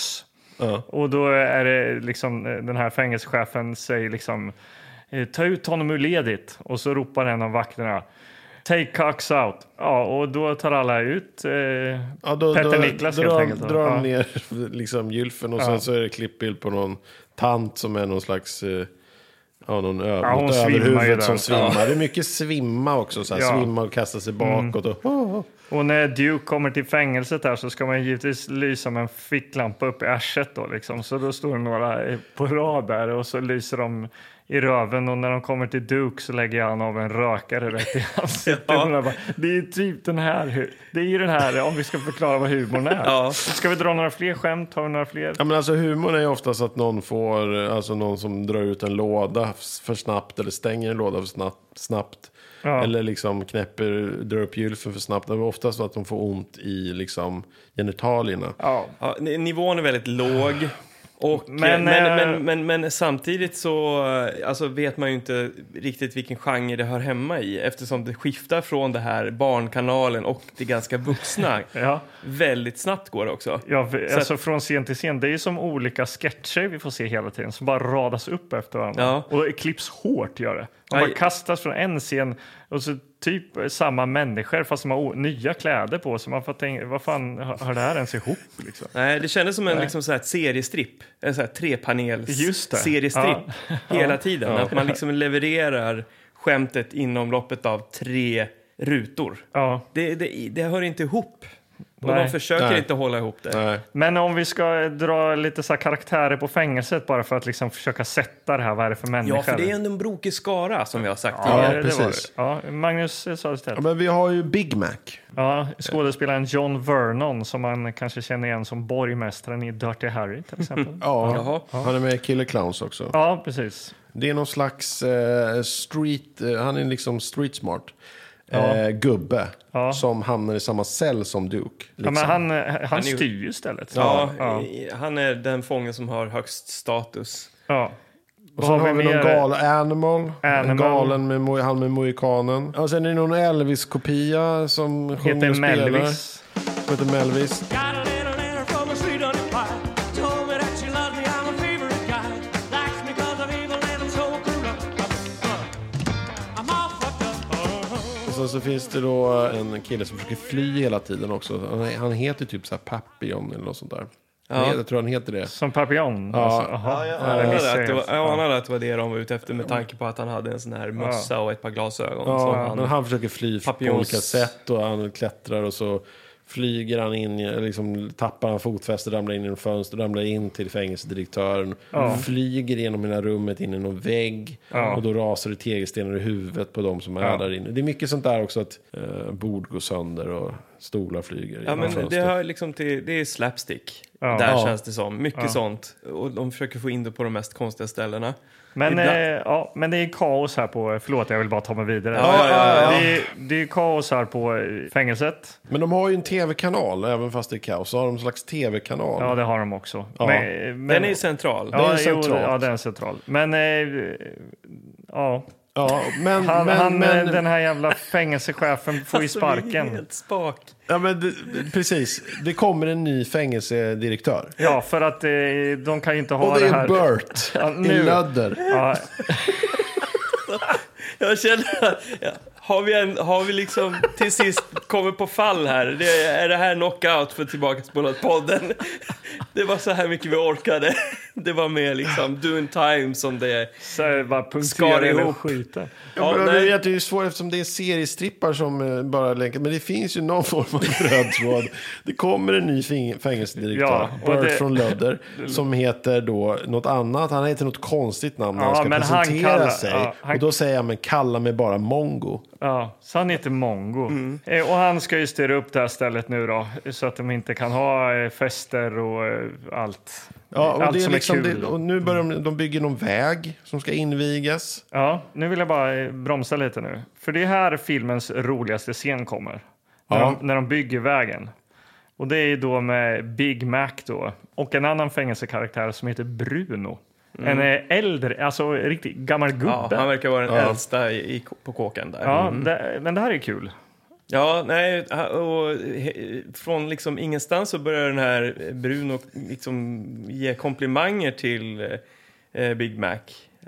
S3: Och då är det liksom eh, den här fängelsechefen säger liksom eh, ta ut honom ur ledigt och så ropar en av vakterna Take Cox out. Ja, och då tar alla ut eh,
S2: Ja, då,
S3: Petter
S2: då,
S3: Niklas
S2: drar,
S3: helt enkelt.
S2: drar
S3: ja.
S2: ner *laughs* liksom gylfen och sen så är det klippbild på någon tant som är någon slags... eh, Ja, någon ö-
S3: Ja, hon
S2: något
S3: svimmar ju
S2: överhuvud
S3: där.
S2: som svimmar. Det är mycket svimma också. Så här,
S3: Ja. Mm.
S2: Svimma och kasta sig bakåt. Och,
S3: Och när Duke kommer till fängelset här så ska man givetvis lysa med en ficklampa upp i arslet då liksom. Så då står det några eh, på rad där och så lyser de i röven och när de kommer till Duke så lägger han av en rökare rätt i ansiktet.
S1: *laughs* Ja.
S3: Och jag bara, Det är typ den här, hu- det är ju den här, om vi ska förklara vad humorn är.
S1: Ja.
S3: Ska vi dra några fler skämt? Har vi några fler?
S2: Ja, men alltså humorn är ju oftast att någon får, alltså någon som drar ut en låda f- för snabbt eller stänger en låda för snabbt. snabbt.
S3: Ja.
S2: Eller liksom knäpper, drar upp gylfen för snabbt. Det är oftast att de får ont i liksom genitalierna.
S3: Ja.
S1: Ja, n- nivån är väldigt låg. Och, men,
S3: Men,
S1: men,
S3: eh,
S1: men, men, men samtidigt så eh, alltså, vet man ju inte riktigt vilken genre det hör hemma i eftersom det skiftar från det här barnkanalen och det ganska
S3: *laughs*
S1: vuxna.
S3: Ja.
S1: Väldigt snabbt går det också.
S3: Ja, för- alltså från scen till scen. Det är ju som olika sketcher vi får se hela tiden som bara radas upp efter varandra.
S1: Ja.
S3: Och klipps hårt gör det. Man bara
S1: Aj.
S3: kastas från en scen och så typ samma människor fast de har o- nya kläder på sig. Man får tänka, vad fan hör hör det här ens ihop liksom?
S1: Nej, det kändes som en liksom, så här, ett seriestripp. En så här,
S3: Just det. *laughs*
S1: trepanels-seriestripp hela tiden. Att man liksom levererar skämtet inom loppet av tre rutor.
S3: Ja.
S1: Det, det, det hör inte ihop. Och
S3: Nej.
S1: de försöker
S2: Nej.
S1: inte hålla ihop det.
S2: Nej.
S3: Men om vi ska dra lite så här karaktärer på fängelset bara för att liksom försöka sätta det här. Vad är det för människor?
S1: Ja, för det är ändå en brokig skara som vi har sagt
S3: Ja,
S1: tidigare.
S3: det- det var
S2: precis.
S3: det. Ja, Magnus eh, Söderstedt.
S2: Ja, men vi har ju Big Mac.
S3: Ja, skådespelaren John Vernon som man kanske känner igen som borgmästaren i Dirty Harry till exempel.
S1: Jaha.
S2: *laughs* Ja, han är med i Killer Clowns också.
S3: Ja, precis.
S2: Det är någon slags eh, street, eh, han är liksom street smart. Eh, gubbe som hamnar i samma cell som Duke.
S3: Ja,
S2: Liksom.
S3: men han, eh, han,
S1: är ju-
S3: styr ju istället.
S1: Ja,
S3: ja.
S1: i- Han är den fången som har högst status.
S3: ja.
S2: Och sen har vi någon
S3: mer?
S2: galen animal.
S3: Animal.
S2: En galen med mo- han med mohikanen. Och sen är det någon Elvis-kopia som sjunger
S3: Heter
S2: och spelar.
S3: Melvis.
S2: Som heter Melvis.
S9: Got a little letter from a sweet honey pie. Told me that she loved me, I'm a favorite guy. Likes me because I'm evil and I'm so corrupt. I'm all fucked up.
S2: Och sen så finns det då en kille som försöker fly hela tiden också. Han- Han heter typ så här Papillon eller något sånt där. Ja. Jag tror han heter det.
S3: Som Papillon? Ja. Alltså, aha. Ja,
S1: Han
S3: det
S1: hade
S3: missade
S1: att det var,
S3: jag.
S1: ja, han hade att det var det de var ute efter med tanke på att han hade en sån här mössa och ett par glasögon. som
S2: Ja,
S1: han,
S2: men han försöker fly
S1: Papillons-
S2: på olika sätt och han klättrar och så flyger han in, i- liksom tappar han fotfästet, ramlar in genom fönstret, ramlar in till fängelsedirektören. Flyger genom hela rummet in i någon vägg och då rasar det tegelstenar i huvudet på de som är där inne. Det är mycket sånt där också att eh, bord går sönder och stolar flyger
S1: ja,
S2: genom
S1: men det,
S2: fönstret.
S1: hör liksom till, det är slapstick.
S3: Ja.
S1: Där
S2: Ja.
S1: känns det som. Mycket sånt. Och de försöker få in det på de mest konstiga ställena.
S3: Men, eh,
S1: Ibland-
S3: ja, men det är kaos här på... Förlåt, jag vill bara ta mig vidare.
S1: Ja, ja, ja, ja.
S3: Det, är, det är kaos här på eh, fängelset.
S2: Men de har ju en tv-kanal, även fast det är kaos, så har de en slags tv-kanal.
S3: Ja, det har de också.
S2: Ja.
S3: Men, men,
S1: Den är ju central.
S2: är
S3: Ja, jo,
S2: central.
S3: ja, den är central. Men... Eh, ja.
S2: Ja, men,
S3: Han,
S2: men,
S3: han, eh,
S2: men, Alltså,
S3: den här jävla fängelsechefen får ju sparken.
S1: Alltså, Helt spak.
S2: ja, men det, precis. Det kommer en ny fängelsedirektör.
S3: Ja, för att eh, de kan ju inte ha
S2: Och det
S3: det här.
S2: är Bert
S3: *laughs* Ja,
S2: i
S3: nu.
S2: lödder.
S3: Ja,
S1: Jag känner att, ja, har vi, en, har vi liksom till sist kommit på fall här? Det, är det här knockout för Tillbaka spolat podden? Det var så här mycket vi orkade. Det var mer liksom doing time som det är.
S3: så är det bara
S1: Skar
S3: punktera hela
S1: ihop.
S3: skiten.
S1: Ja,
S2: Ja, men
S1: nej.
S2: det är ju svårt eftersom det är seriestrippar som eh, bara länkar. Men det finns ju någon *laughs* form av röd tråd. Det kommer en ny fäng- fängelsedirektör,
S3: Ja, och
S2: Bert
S3: *laughs* det-
S2: från Lödder, som heter då något annat. Han heter något konstigt namn när
S3: Ja,
S2: han ska
S3: men han
S2: presentera
S3: kallar-
S2: sig.
S3: ja, han-
S2: Och då säger han, men kalla mig bara Mongo.
S3: Ja, så han heter Mongo.
S1: Mm.
S3: Eh, och han ska ju styra upp det här stället nu då, så att de inte kan ha eh, fester och eh, allt.
S2: Ja, och,
S3: allt
S2: det är
S3: som
S2: liksom,
S3: är kul.
S2: det, och nu börjar de, de bygger någon väg som ska invigas.
S3: Ja, nu vill jag bara eh, bromsa lite nu. För det är här filmens roligaste scen kommer. När,
S2: Ja.
S3: de, när de bygger vägen. Och det är ju då med Big Mac då. Och en annan fängelsekaraktär som heter Bruno.
S2: Mm.
S3: En eh, äldre, alltså riktigt gammal
S1: Ja, han
S3: gubbe.
S1: verkar vara den äldsta i, i, på kåken där.
S3: Ja,
S2: Mm.
S3: det, men det här är kul.
S1: Ja, nej, ha- och he- från liksom ingenstans så börjar den här Bruno liksom ge komplimanger till eh, Big Mac.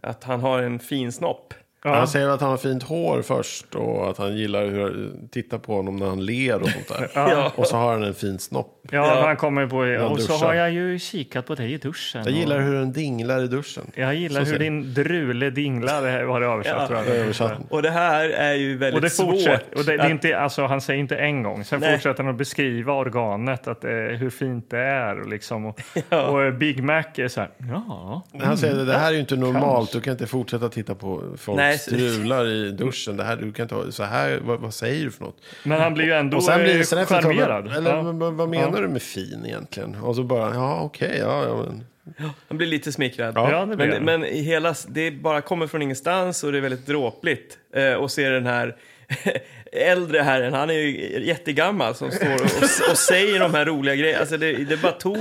S1: Att han har en fin snopp.
S3: Ja.
S2: Han säger att han har fint hår först och att han gillar hur titta på honom när han ler och sånt
S3: *laughs*
S2: där. Och så har han en fin snopp.
S3: Ja, men han kommer på
S2: han
S3: Och så
S2: duschar.
S3: har jag ju kikat på dig i duschen.
S2: Jag gillar
S3: och,
S2: hur den dinglar i duschen.
S3: jag gillar
S2: Så
S3: hur
S2: ser-
S3: din drule dinglar här var det översatt.
S1: Ja.
S3: tror jag.
S2: Översatt.
S1: Och det här är ju
S3: Och
S1: väldigt
S3: det
S1: svårt.
S3: fortsätter. Och det, det är inte, alltså, han säger inte en gång. Sen
S1: Nej.
S3: fortsätter han att beskriva organet, att, eh, hur fint det är. Och,
S1: *laughs*
S3: liksom, och, och eh, Big Mac är så här... Ja.
S2: Han säger det här är ju inte normalt. Du kan inte fortsätta titta på folk
S1: Nej, så-
S2: strular i duschen. Det här, du kan inte, ha- så här, vad, vad säger du för något?
S3: Men han blir ju ändå
S2: Och sen blir det sen
S3: eh,
S2: efter ett tag,
S3: charmerad.
S2: men- eller,
S3: Ja.
S2: men vad- Vad menar du med fin egentligen? Och så bara, ja okej, ja, ja men.
S1: Han blir lite smickrad.
S2: Ja.
S3: Ja, det blir
S1: men,
S3: han.
S1: men i hela, det bara kommer från ingenstans och det är väldigt dråpligt. Eh, och se den här *laughs* äldre herren, han är ju jättegammal som står och, och, säger de här roliga grejerna. Alltså det, det bara tog...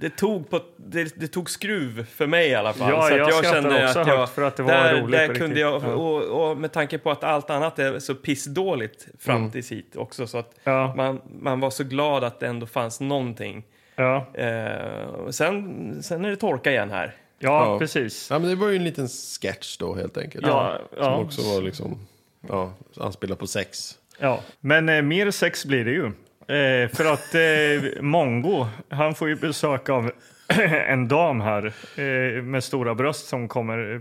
S1: Det tog, på, det, det tog skruv för mig i alla fall.
S3: Ja,
S1: så att
S3: jag
S1: jag
S3: skrattade
S1: kände
S3: också
S1: att
S3: högt
S1: jag,
S3: för att det var
S1: där,
S3: roligt
S1: Där
S3: på
S1: kunde
S3: riktigt.
S1: jag,
S3: Ja.
S1: och, och med tanke på att allt annat är så pissdåligt fram tills hit också. Så att
S3: Mm. Ja.
S1: man, man var så glad att det ändå fanns någonting.
S3: Ja.
S1: Eh, och sen, sen är det torka igen här.
S3: Ja,
S2: Ja.
S3: precis.
S2: Ja men det var ju en liten sketch då helt enkelt.
S3: Ja,
S2: som
S3: ja.
S2: också var liksom, ja, anspelad på sex.
S3: Ja. Men eh, mer sex blir det ju. Eh, för att eh, Mongo, han får ju besök av *clears throat* en dam här eh, med stora bröst som kommer... eh,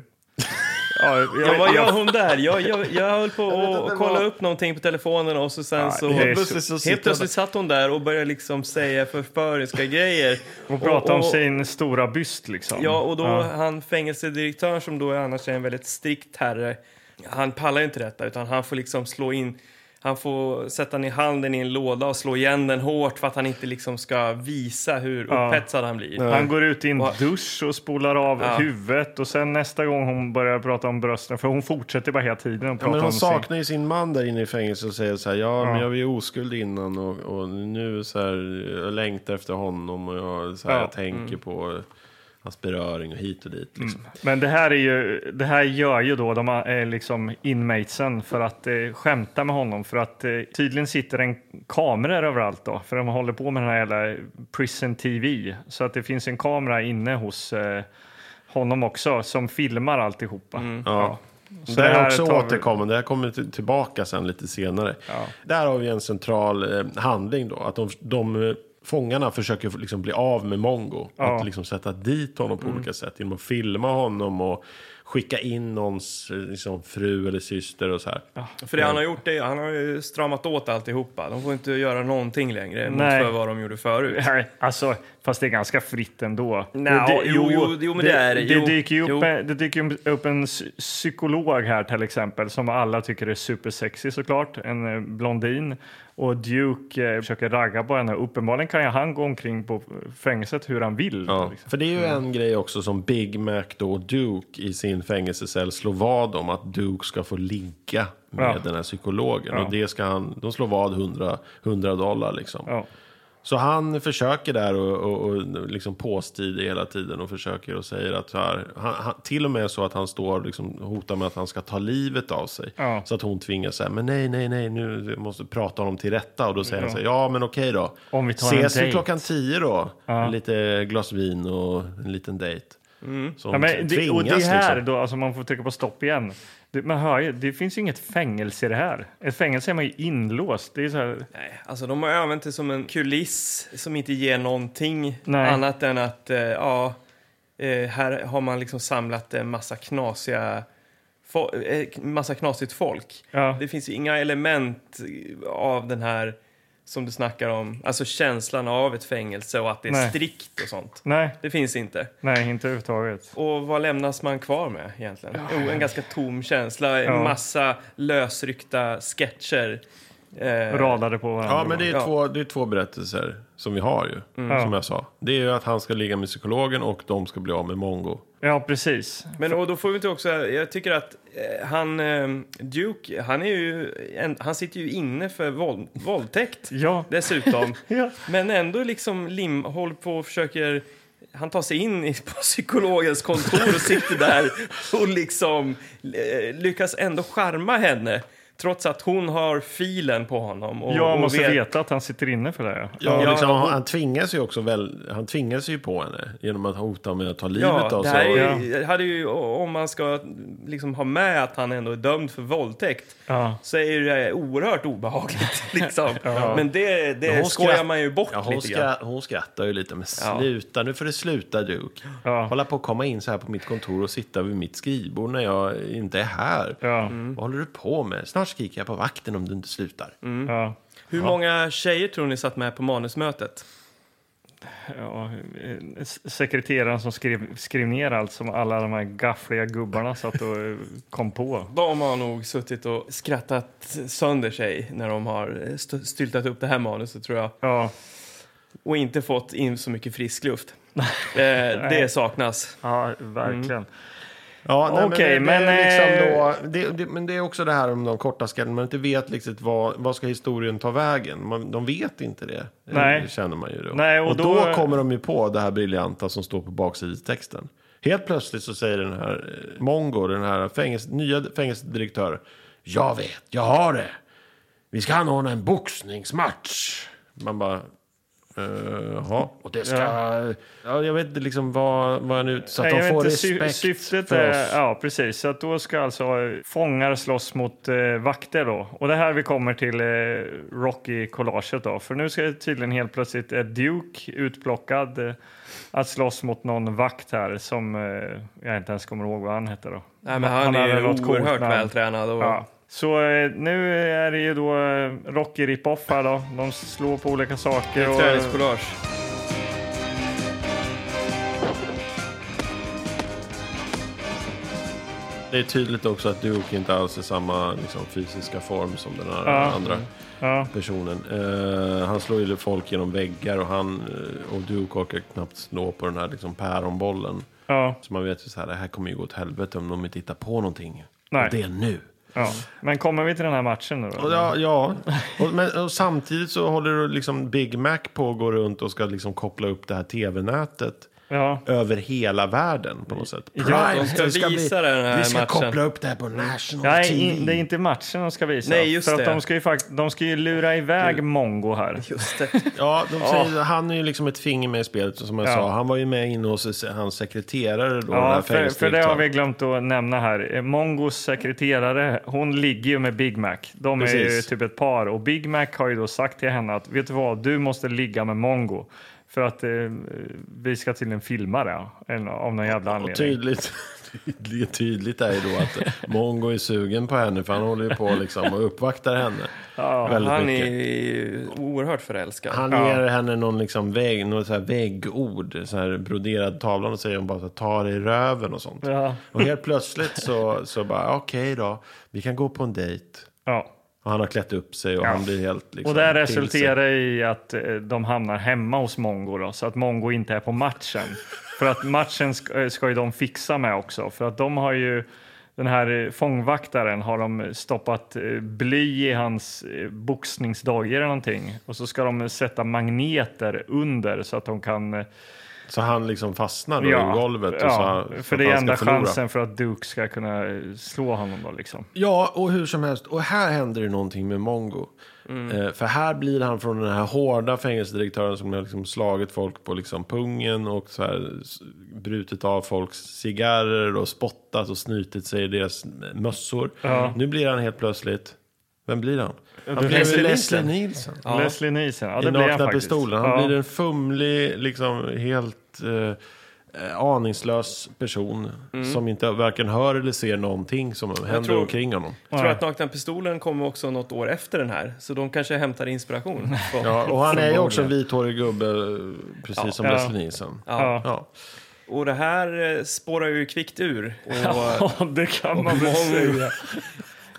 S3: Ja, jag,
S1: Ja, vad
S3: jag-
S1: gör hon där? Jag, jag, jag höll på
S2: inte,
S1: att
S2: det
S1: kolla
S2: var-
S1: upp någonting på telefonen och så sen så...
S3: det är
S1: Helt
S2: så-
S1: plötsligt, helt plötsligt satt hon där och började liksom säga förföriska grejer.
S3: hon pratar om
S1: och-
S3: sin stora byst liksom.
S1: Ja, och då han fängelsedirektören som då är annars är en väldigt strikt herre, han pallar ju inte detta utan han får liksom slå in, han får sätta ner handen i en låda och slå igen den hårt för att han inte liksom ska visa hur
S3: Ja.
S1: upphetsad han blir.
S3: Han går ut i en
S1: Och-
S3: dusch och spolar av
S1: Ja.
S3: huvudet och sen nästa gång hon börjar prata om brösten, för hon fortsätter bara hela tiden att prata
S2: Ja, men
S3: om
S2: hon
S3: sin-
S2: saknar ju sin man där inne i fängelse och säger så här, ja, men
S3: Ja.
S2: jag var ju oskuld innan och, och nu så här, jag längtar efter honom och jag, så här,
S3: Ja. mm.
S2: jag tänker på hans beröring och hit och dit. Liksom.
S3: Men det här, är ju, det här gör ju då de eh, liksom inmatesen för att eh, skämta med honom. För att eh, tydligen sitter en kamera överallt då. För de håller på med den här jävla prison TV. Så att det finns en kamera inne hos eh, honom också som filmar alltihopa.
S1: Mm.
S2: Ja.
S3: Så
S2: det här är
S3: här
S2: också
S3: tar vi-
S2: återkommande, det här kommer till- tillbaka sen lite senare. Där har vi en central eh, handling då, att de, de eh, fångarna försöker liksom bli av med Mongo. Att liksom sätta dit honom på
S3: Mm.
S2: olika sätt, genom att filma honom och skicka in någons eh, liksom, fru eller syster och så här.
S1: För det han har gjort det, han har ju stramat åt alltihopa. De får inte göra någonting längre mot
S3: Nej.
S1: för vad de gjorde förut.
S3: Nej, Alltså, fast det är ganska fritt ändå.
S1: Nå,
S3: Och
S1: jo, jo, jo, men det är det.
S3: Det
S1: Jo,
S3: dyker ju
S1: jo.
S3: upp, en- det dyker ju upp en psy- psykolog här till exempel som alla tycker är supersexy såklart, en eh, blondin. Och Duke eh, försöker ragga på henne. Uppenbarligen kan ju han gå omkring på eh, fängelset hur han vill.
S2: Ja,
S3: liksom.
S2: för det är ju en grej också som Big Mac då och Duke i sin fängelsecell slår vad om att Duke ska få ligga med
S3: Ja.
S2: den här psykologen.
S3: Ja.
S2: Och det ska han, de slår vad 100, 100 dollar liksom.
S3: Ja.
S2: Så han försöker där och, och, och liksom påstiger hela tiden och försöker och säger att så här, han, han, till och med så att han står och liksom hotar med att han ska ta livet av sig.
S3: Ja.
S2: Så att hon tvingas säga, men nej, nej, nej, nu måste jag prata honom till rätta. Och då säger han så här, ja men okej då.
S3: Om vi tar en
S2: Ses vi
S3: dejt."
S2: klockan tio då? Med lite glas vin och en liten dejt. Så
S3: Ja,
S2: hon
S3: men det, och det
S2: tvingas
S3: här
S2: liksom.
S3: då, alltså man får trycka på stopp igen. Det, man hör ju, det finns ju inget fängelse i det här. Ett fängelse är man ju inlåst. Det är så här,
S1: Nej, alltså de har använt det som en kuliss som inte ger någonting
S3: Nej.
S1: annat än att eh, ja, eh, här har man liksom samlat en massa knasiga fo- eh, massa knasigt folk.
S3: ja.
S1: Det finns ju inga element av den här som du snackar om, alltså känslan av ett fängelse och att det är
S3: Nej.
S1: strikt och sånt.
S3: Nej,
S1: Det finns inte.
S3: nej, inte överhuvudtaget.
S1: Och vad lämnas man kvar med egentligen? Jo, en ganska tom känsla, en
S3: Ja.
S1: massa lösryckta sketcher. Eh,
S3: Radade på varandra.
S2: Ja, men det är,
S1: Ja.
S2: två, det är två berättelser som vi har ju.
S3: Mm.
S2: Som jag sa. Det är ju att han ska ligga med psykologen och de ska bli av med Mongo.
S3: Ja, precis.
S1: Men och då får vi inte också, jag tycker att eh, han, eh, Duke, han är ju, en, han sitter ju inne för våld, våldtäkt
S3: *laughs* Ja.
S1: dessutom.
S3: *laughs* Ja.
S1: Men ändå liksom lim, håller på och försöker, han tar sig in i, på psykologens
S3: *laughs*
S1: kontor och sitter där och liksom eh, lyckas ändå charma henne Trots att hon har filen på honom. Och,
S3: Jag
S1: och
S3: måste
S1: vet-
S3: veta att han sitter inne för det här. ja.
S2: Ja,
S1: Ja,
S2: liksom,
S1: och-
S2: han, han tvingas ju också väl, han tvingas ju på henne genom att hota med att ta livet
S1: Ja,
S2: av
S1: det här
S2: sig.
S1: är, ju- hade ju, om man ska liksom ha med att han ändå är dömd för våldtäkt
S3: Ja.
S1: så är det oerhört obehagligt. *laughs* Liksom. Men det, det
S2: hon
S1: skojar
S2: skratt-
S1: man ju bort
S2: Ja, hon,
S1: lite grann.
S2: skra- hon skrattar ju lite, men
S1: Ja.
S2: sluta nu får det sluta Duke.
S3: Ja.
S2: Hålla på att komma in så här på mitt kontor och sitta vid mitt skrivbord när jag inte är här.
S3: Ja.
S2: Vad håller du på med? Snart skriker jag på vakten om du inte slutar.
S3: Ja.
S1: Hur många tjejer tror ni satt med på manusmötet?
S3: Ja, eh, s- sekreteraren som skrev, skrev ner allt som alla de här gaffliga gubbarna satt och eh, kom på.
S1: De har nog suttit och skrattat sönder sig när de har eh, st- styltat upp det här manuset tror jag.
S3: Ja,
S1: Och inte fått in så mycket frisk luft. eh, det saknas.
S3: ja verkligen.
S2: Ja, nej,
S3: Okej,
S2: men, det, det,
S3: men, eh,
S2: är liksom då, det, det, men det är också det här om de korta skallen. Man inte vet liksom vad, vad ska historien ta vägen. Man, de vet inte det.
S3: Nej.
S2: Det känner man ju då.
S3: Nej, och
S2: och då,
S3: då-
S2: kommer de ju på det här briljanta som står på baksidestexten. Helt plötsligt så säger den här eh, Mongo, den här fängels, nya fängelsedirektören. Jag vet, jag har det. Vi ska anordna en boxningsmatch. Man bara... eh, Jaha, och det ska... Ja. jag vet inte liksom vad, vad jag nu... Så att
S3: Nej,
S2: de
S3: jag
S2: får
S3: vet inte, sy-
S2: respekt
S3: syftet
S2: för
S3: är,
S2: oss.
S3: Ja, precis. Så att då ska alltså eh, fångar slåss mot eh, vakter då. Och det här vi kommer till eh, Rocky-collaget då. För nu ska tydligen helt plötsligt eh, Duke utplockad eh, att slåss mot någon vakt här som eh, jag inte ens kommer ihåg vad han hette då.
S1: Nej, men han, är
S3: hade
S1: ju
S3: något coolt
S1: oerhört
S3: namn.
S1: vältränad. Och,
S3: Ja. Så eh, nu är det ju då eh, Rocky rip-off här då. De slår på olika saker. och-
S1: Träningskollage.
S2: Det är tydligt också att Duke inte alls är samma liksom, fysiska form som den här
S3: Ja.
S2: andra
S3: Ja.
S2: personen. Eh, han slår ju folk genom väggar och, han, eh, och Duke orkar knappt slå på den här liksom, päronbollen.
S3: Ja.
S2: Så man vet ju så här, det här kommer ju gå åt helvete om de inte hittar på någonting.
S3: Nej.
S2: Och det är nu.
S3: Ja. Men kommer vi till den här matchen nu då?
S2: Och Ja, ja. Och, men, och samtidigt så håller liksom Big Mac på att gå runt och ska liksom koppla upp det här tv-nätet.
S3: Ja.
S2: över hela världen på något sätt.
S1: de ska
S2: det
S1: visa den här
S2: Vi ska
S1: matchen.
S2: koppla upp det här på national
S3: Nej,
S2: TV.
S3: in, det är inte matchen de ska visa.
S1: Nej, just
S3: för
S1: det.
S3: att De, ska ju fakt- de ska ju lura iväg Mongo här.
S1: Just det.
S2: Ja, de säger, han är ju liksom ett finger med i spelet som jag
S3: Ja.
S2: sa. Han var ju med inne hos s- hans sekreterare då. den här
S3: Ja, för, för det har
S2: fängelsedirektören.
S3: vi glömt att nämna här. Eh, Mongos sekreterare, hon ligger ju med Big Mac. De är ju
S2: Precis.
S3: typ ett par och Big Mac har ju då sagt till henne att vet du vad, du måste ligga med Mongo. För att eh, vi ska tydligen filma det en- av någon jävla
S2: Och
S3: anledning.
S2: tydligt, *laughs* tydligt, tydligt är ju då att Mongo är sugen på henne för han håller ju på liksom och uppvaktar henne. väldigt
S1: Han
S2: mycket.
S1: är eh, oerhört förälskad.
S2: Han ger henne någon liksom vägg, något så här väggord, så här broderad tavla och säger hon bara så här, ta dig i röven och sånt.
S3: Ja.
S2: Och helt plötsligt så, så bara okej då, vi kan gå på en dejt.
S3: Ja.
S2: Och han har klätt upp sig och han blir helt liksom
S3: Och det här
S2: till sig.
S3: resulterar i att eh, de hamnar hemma hos Mongo då, så att Mongo inte är
S2: *laughs*
S3: på matchen. För att matchen ska, eh, ska ju de fixa med också, för att de har ju den här eh, fångvaktaren har de stoppat eh, bly i hans eh, boxningsdojor eller någonting och så ska de eh, sätta magneter under så att de kan... eh,
S2: Så han liksom fastnar då i golvet. Och så, så
S3: för
S2: att
S3: det är
S2: han ska
S3: enda
S2: förlora.
S3: chansen för att Duke ska kunna eh, slå honom då liksom.
S2: Ja, och hur som helst. Och här händer det någonting med Mongo.
S3: Mm.
S2: Eh, för här blir han från den här hårda fängelsedirektören som har liksom slagit folk på liksom pungen och så här, s- brutit av folks cigarrer och spottat och snytit sig i deras mössor. Nu blir han helt plötsligt, vem blir han? Han blir
S1: Leslie
S2: Leslie, Leslie Nielsen.
S3: Leslie Nielsen, ja det
S2: I
S3: blir han
S2: nakna
S3: faktiskt.
S2: pistolen. Han
S3: ja.
S2: blir en fumlig, liksom helt eh, eh, aningslös person.
S3: Mm.
S2: Som inte varken hör eller ser någonting som händer
S1: tror-
S2: omkring honom.
S1: Jag tror att Nakna Pistolen kommer också något år efter den här, så de kanske hämtar inspiration.
S3: *laughs*
S1: från-
S2: Ja, och han är ju
S1: från
S2: också en
S1: Bogen.
S2: vithårig gubbe, eh, precis som
S3: Ja.
S2: Leslie Nielsen.
S1: Ja.
S2: Ja.
S1: Och det här eh, spårar ju kvickt ur. Och,
S3: Ja, *laughs* det kan
S1: och
S3: man väl säga.
S1: många,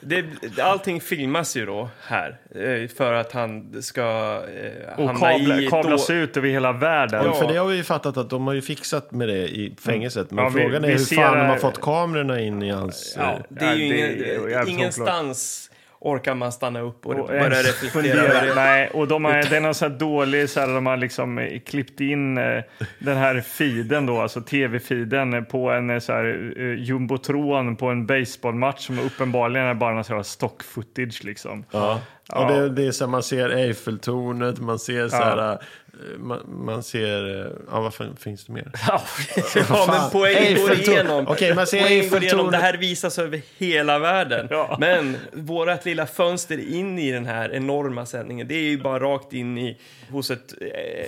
S1: det, allting filmas ju då här eh, för att han ska eh,
S3: Och
S1: hamna i...
S3: kabla,
S1: ett
S3: kablas
S1: då-
S3: ut över hela världen.
S2: För det har vi ju fattat att de har ju fixat med det i fängelset. Men
S3: Mm. Ja, vi-
S2: frågan är
S3: vi
S2: hur
S3: ser-
S2: fan de har fått kamerorna in i hans... eh,
S1: Ja, det är
S3: Ja,
S1: ju
S3: det är ju
S1: ingen,
S3: jävligt
S1: ingenstans orkar man stanna upp och,
S3: Och
S1: börja
S3: ens
S1: reflektera över det.
S3: Nej, och de har, den är så här dålig, så här, de har liksom eh, klippt in eh, den här feeden då, alltså tv-feeden eh, på en eh, så här, eh, jumbotron på en baseballmatch som uppenbarligen är bara någon så här stock footage liksom.
S2: Ja. Och det, det är så här, man ser Eiffeltornet, man ser så
S3: Ja.
S2: här, eh, man, man ser, eh, ja vad fan, finns det mer?
S1: *laughs* Ja, men
S2: Fan,
S1: poängen går
S2: Eiffeltorn.
S1: igenom.
S2: Okej, man ser
S1: poängen går igenom.
S2: Eiffeltornet.
S1: Det här visas över hela världen.
S3: Ja.
S1: Men vårat lilla fönster in i den här enorma sändningen, det är ju bara rakt in i, hos ett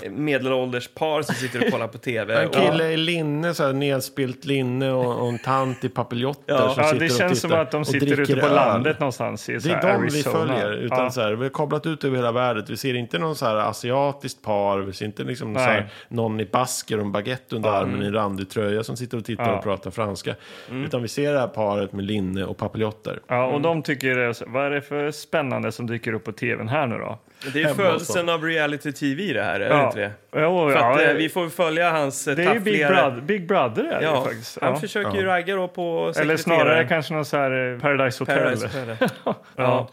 S1: eh, medelålders par som sitter och kollar på TV.
S3: *laughs*
S2: En kille i linne, så här, nedspilt linne och, och en tant i papiljotter
S1: Ja.
S2: som
S3: Ja,
S2: sitter
S3: det
S2: och
S3: känns som
S2: tittar
S3: att de
S2: och
S3: sitter ute
S2: dricker
S3: på
S2: öl.
S3: landet någonstans i så
S2: Det är
S3: här,
S2: de vi
S3: Arizona.
S2: följer. Utan
S3: Ja.
S2: så här, vi har kablat ut över hela världen. Vi ser inte någon så här asiatiskt par. Vi ser inte liksom så
S3: Nej.
S2: här, någon i basker och en baguette under armen i en randig tröja som sitter och tittar
S3: Ja. Mm.
S2: och pratar franska. Utan vi ser det här paret med linne och papiljotter.
S3: Ja, och de tycker, det är så- vad är det för spännande som dyker upp på tvn här nu då?
S1: Det är
S2: Hemma
S1: födelsen av reality-tv det här, är det
S3: Ja.
S1: inte det?
S3: Jo,
S1: För
S3: ja,
S1: att, eh,
S3: det-
S1: vi får följa hans eh,
S3: det är ju Big
S1: taffligare-
S3: Brother, Big Brother är det ju
S1: Ja,
S3: faktiskt.
S1: han
S3: Ja.
S1: försöker ju ragga då på
S3: Eller snarare
S1: sekreteraren.
S3: kanske någon så här eh, Paradise Hotel.
S1: Paradise Hotel.
S3: *laughs*
S1: ja.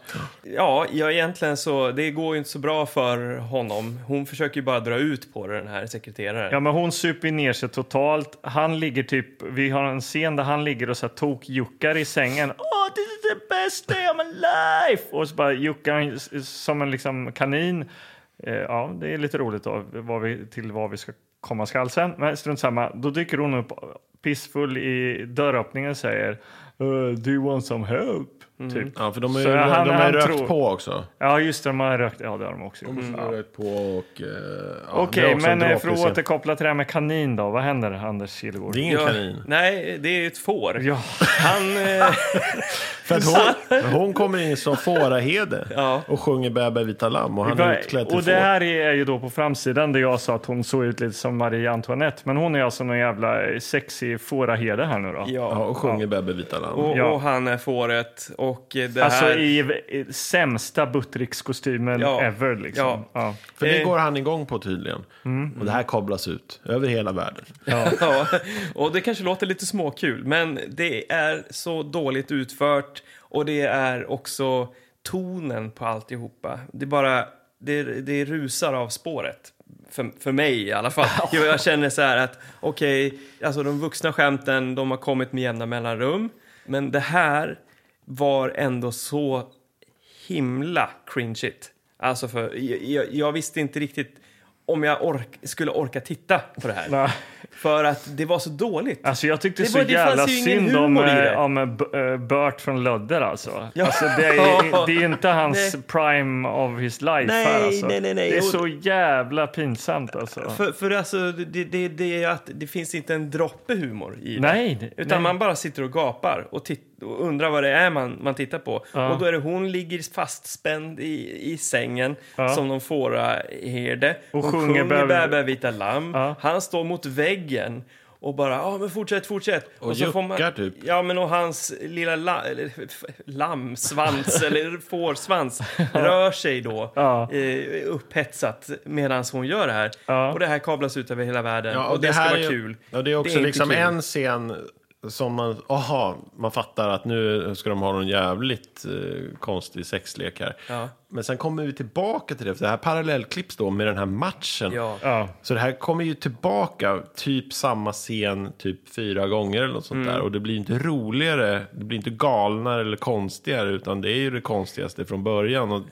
S1: Ja, ja, egentligen så, det går ju inte så bra för honom. Hon försöker ju bara dra ut på det, den här sekreteraren.
S3: Ja, men hon super ner sig totalt. Han ligger typ, vi har en scen där han ligger och så här tokjuckar i sängen. Oh, this is the best day of my life! Och så bara juckar han s- som en liksom kanin. Eh, ja, det är lite roligt då, vad vi, till vad vi ska komma skall sen. Men strunt samma, då dyker hon upp pissfull i dörröppningen och säger "Eh, Do you want some help?
S1: Mm.
S3: Typ.
S2: Ja, för de har ju
S3: Så
S2: de
S3: han-
S2: har
S3: han
S2: ju rökt
S3: tror-
S2: på också.
S3: Ja, just det, de har rökt. Ja, det har de också gjort.
S2: De
S3: Ja.
S2: har rökt på och... eh, ja, det är
S3: Okej,
S2: också en
S3: men eh, för
S2: dråplig
S3: att
S2: scen.
S3: återkoppla till det här med kanin då. Vad händer, Anders Kihlgård?
S2: Det är ingen
S1: Ja,
S2: kanin.
S1: Nej, det är ju ett får.
S3: Ja.
S1: Han,
S3: *laughs*
S1: eh,
S2: För att
S1: *laughs*
S2: hon, hon kommer in som fåraherde
S1: Ja.
S2: och sjunger Bä bä vita lamm och
S3: *laughs*
S2: han
S3: Va-
S2: är utklädd till
S3: Och det
S2: får.
S3: här är ju då på framsidan där jag sa att hon såg ut lite som Marie Antoinette. Men hon är alltså någon jävla eh, sexig fåraherde här nu då.
S2: Ja,
S1: ja,
S2: och sjunger Bä bä vita lamm.
S1: och,
S3: Ja.
S1: och han är fåret. Och eh, det
S3: Alltså
S1: här,
S3: i, i sämsta Buttericks-kostymen
S1: Ja.
S3: ever liksom.
S1: Ja.
S3: Ja. Ja.
S2: För det
S1: Eh. Mm.
S2: går han igång på tydligen. Och det här kablas ut över hela världen.
S1: *laughs* ja, och det kanske låter lite småkul, men det är så dåligt utfört. Och det är också tonen på alltihopa. Det är bara, det, det rusar av spåret. För, för mig i alla fall. Jag, jag känner så här att, okej, alltså de vuxna skämten, de har kommit med jämna mellanrum. Men det här var ändå så himla cringeigt. Alltså för, jag, jag, jag visste inte riktigt om jag ork, skulle orka titta på det här.
S3: Nej.
S1: För att det var så dåligt.
S3: Alltså jag tyckte
S1: Det
S3: så
S1: var- det
S3: jävla
S1: fanns ju ingen
S3: synd om,
S1: humor i det.
S3: eh, om eh, B- eh, Bert från Lödder alltså.
S1: *laughs* Ja.
S3: alltså det, är, det är inte hans
S1: Nej.
S3: prime of his life
S1: Nej,
S3: här alltså.
S1: nej, nej, nej.
S3: Det är
S1: Och-
S3: så jävla pinsamt alltså.
S1: För, för alltså, det, det, det är att det finns inte en droppe humor i det.
S3: Nej,
S1: Utan
S3: nej.
S1: man bara sitter och gapar och, titt- och undrar vad det är man, man tittar på.
S3: Ja.
S1: Och då är det hon ligger fastspänd i, i sängen
S3: Ja.
S1: som någon fåraherde.
S3: Och
S1: Hon
S3: sjunger
S1: sjunger
S3: Bä-
S1: Bä bä vita lamm.
S3: Ja.
S1: Han står mot väggen och bara ja men fortsätt, fortsätt. Och,
S2: juckar typ.
S1: Ja men och hans lilla la, eller, f-
S3: *laughs*
S1: lammsvans eller fårsvans rör sig då
S3: Ja.
S1: eh, upphetsat medan hon gör det här.
S3: Ja.
S1: Och det här kablas ut över hela världen
S2: Ja,
S1: och, det, ska
S2: här
S1: vara
S2: är, ju-
S1: kul.
S2: Ja, det är också
S1: inte
S2: liksom
S1: kul.
S2: en scen som man, aha, man fattar att nu ska de ha någon jävligt eh, konstig sexlek här.
S1: Ja.
S2: Men sen kommer vi tillbaka till det, för det här parallellklipps då med den här matchen.
S1: Ja.
S3: Ja.
S2: Så det här kommer ju tillbaka, typ samma scen, typ fyra gånger eller något sånt
S3: Mm.
S2: där. Och det blir inte roligare, det blir inte galnare eller konstigare, utan det är ju det konstigaste från början. Och,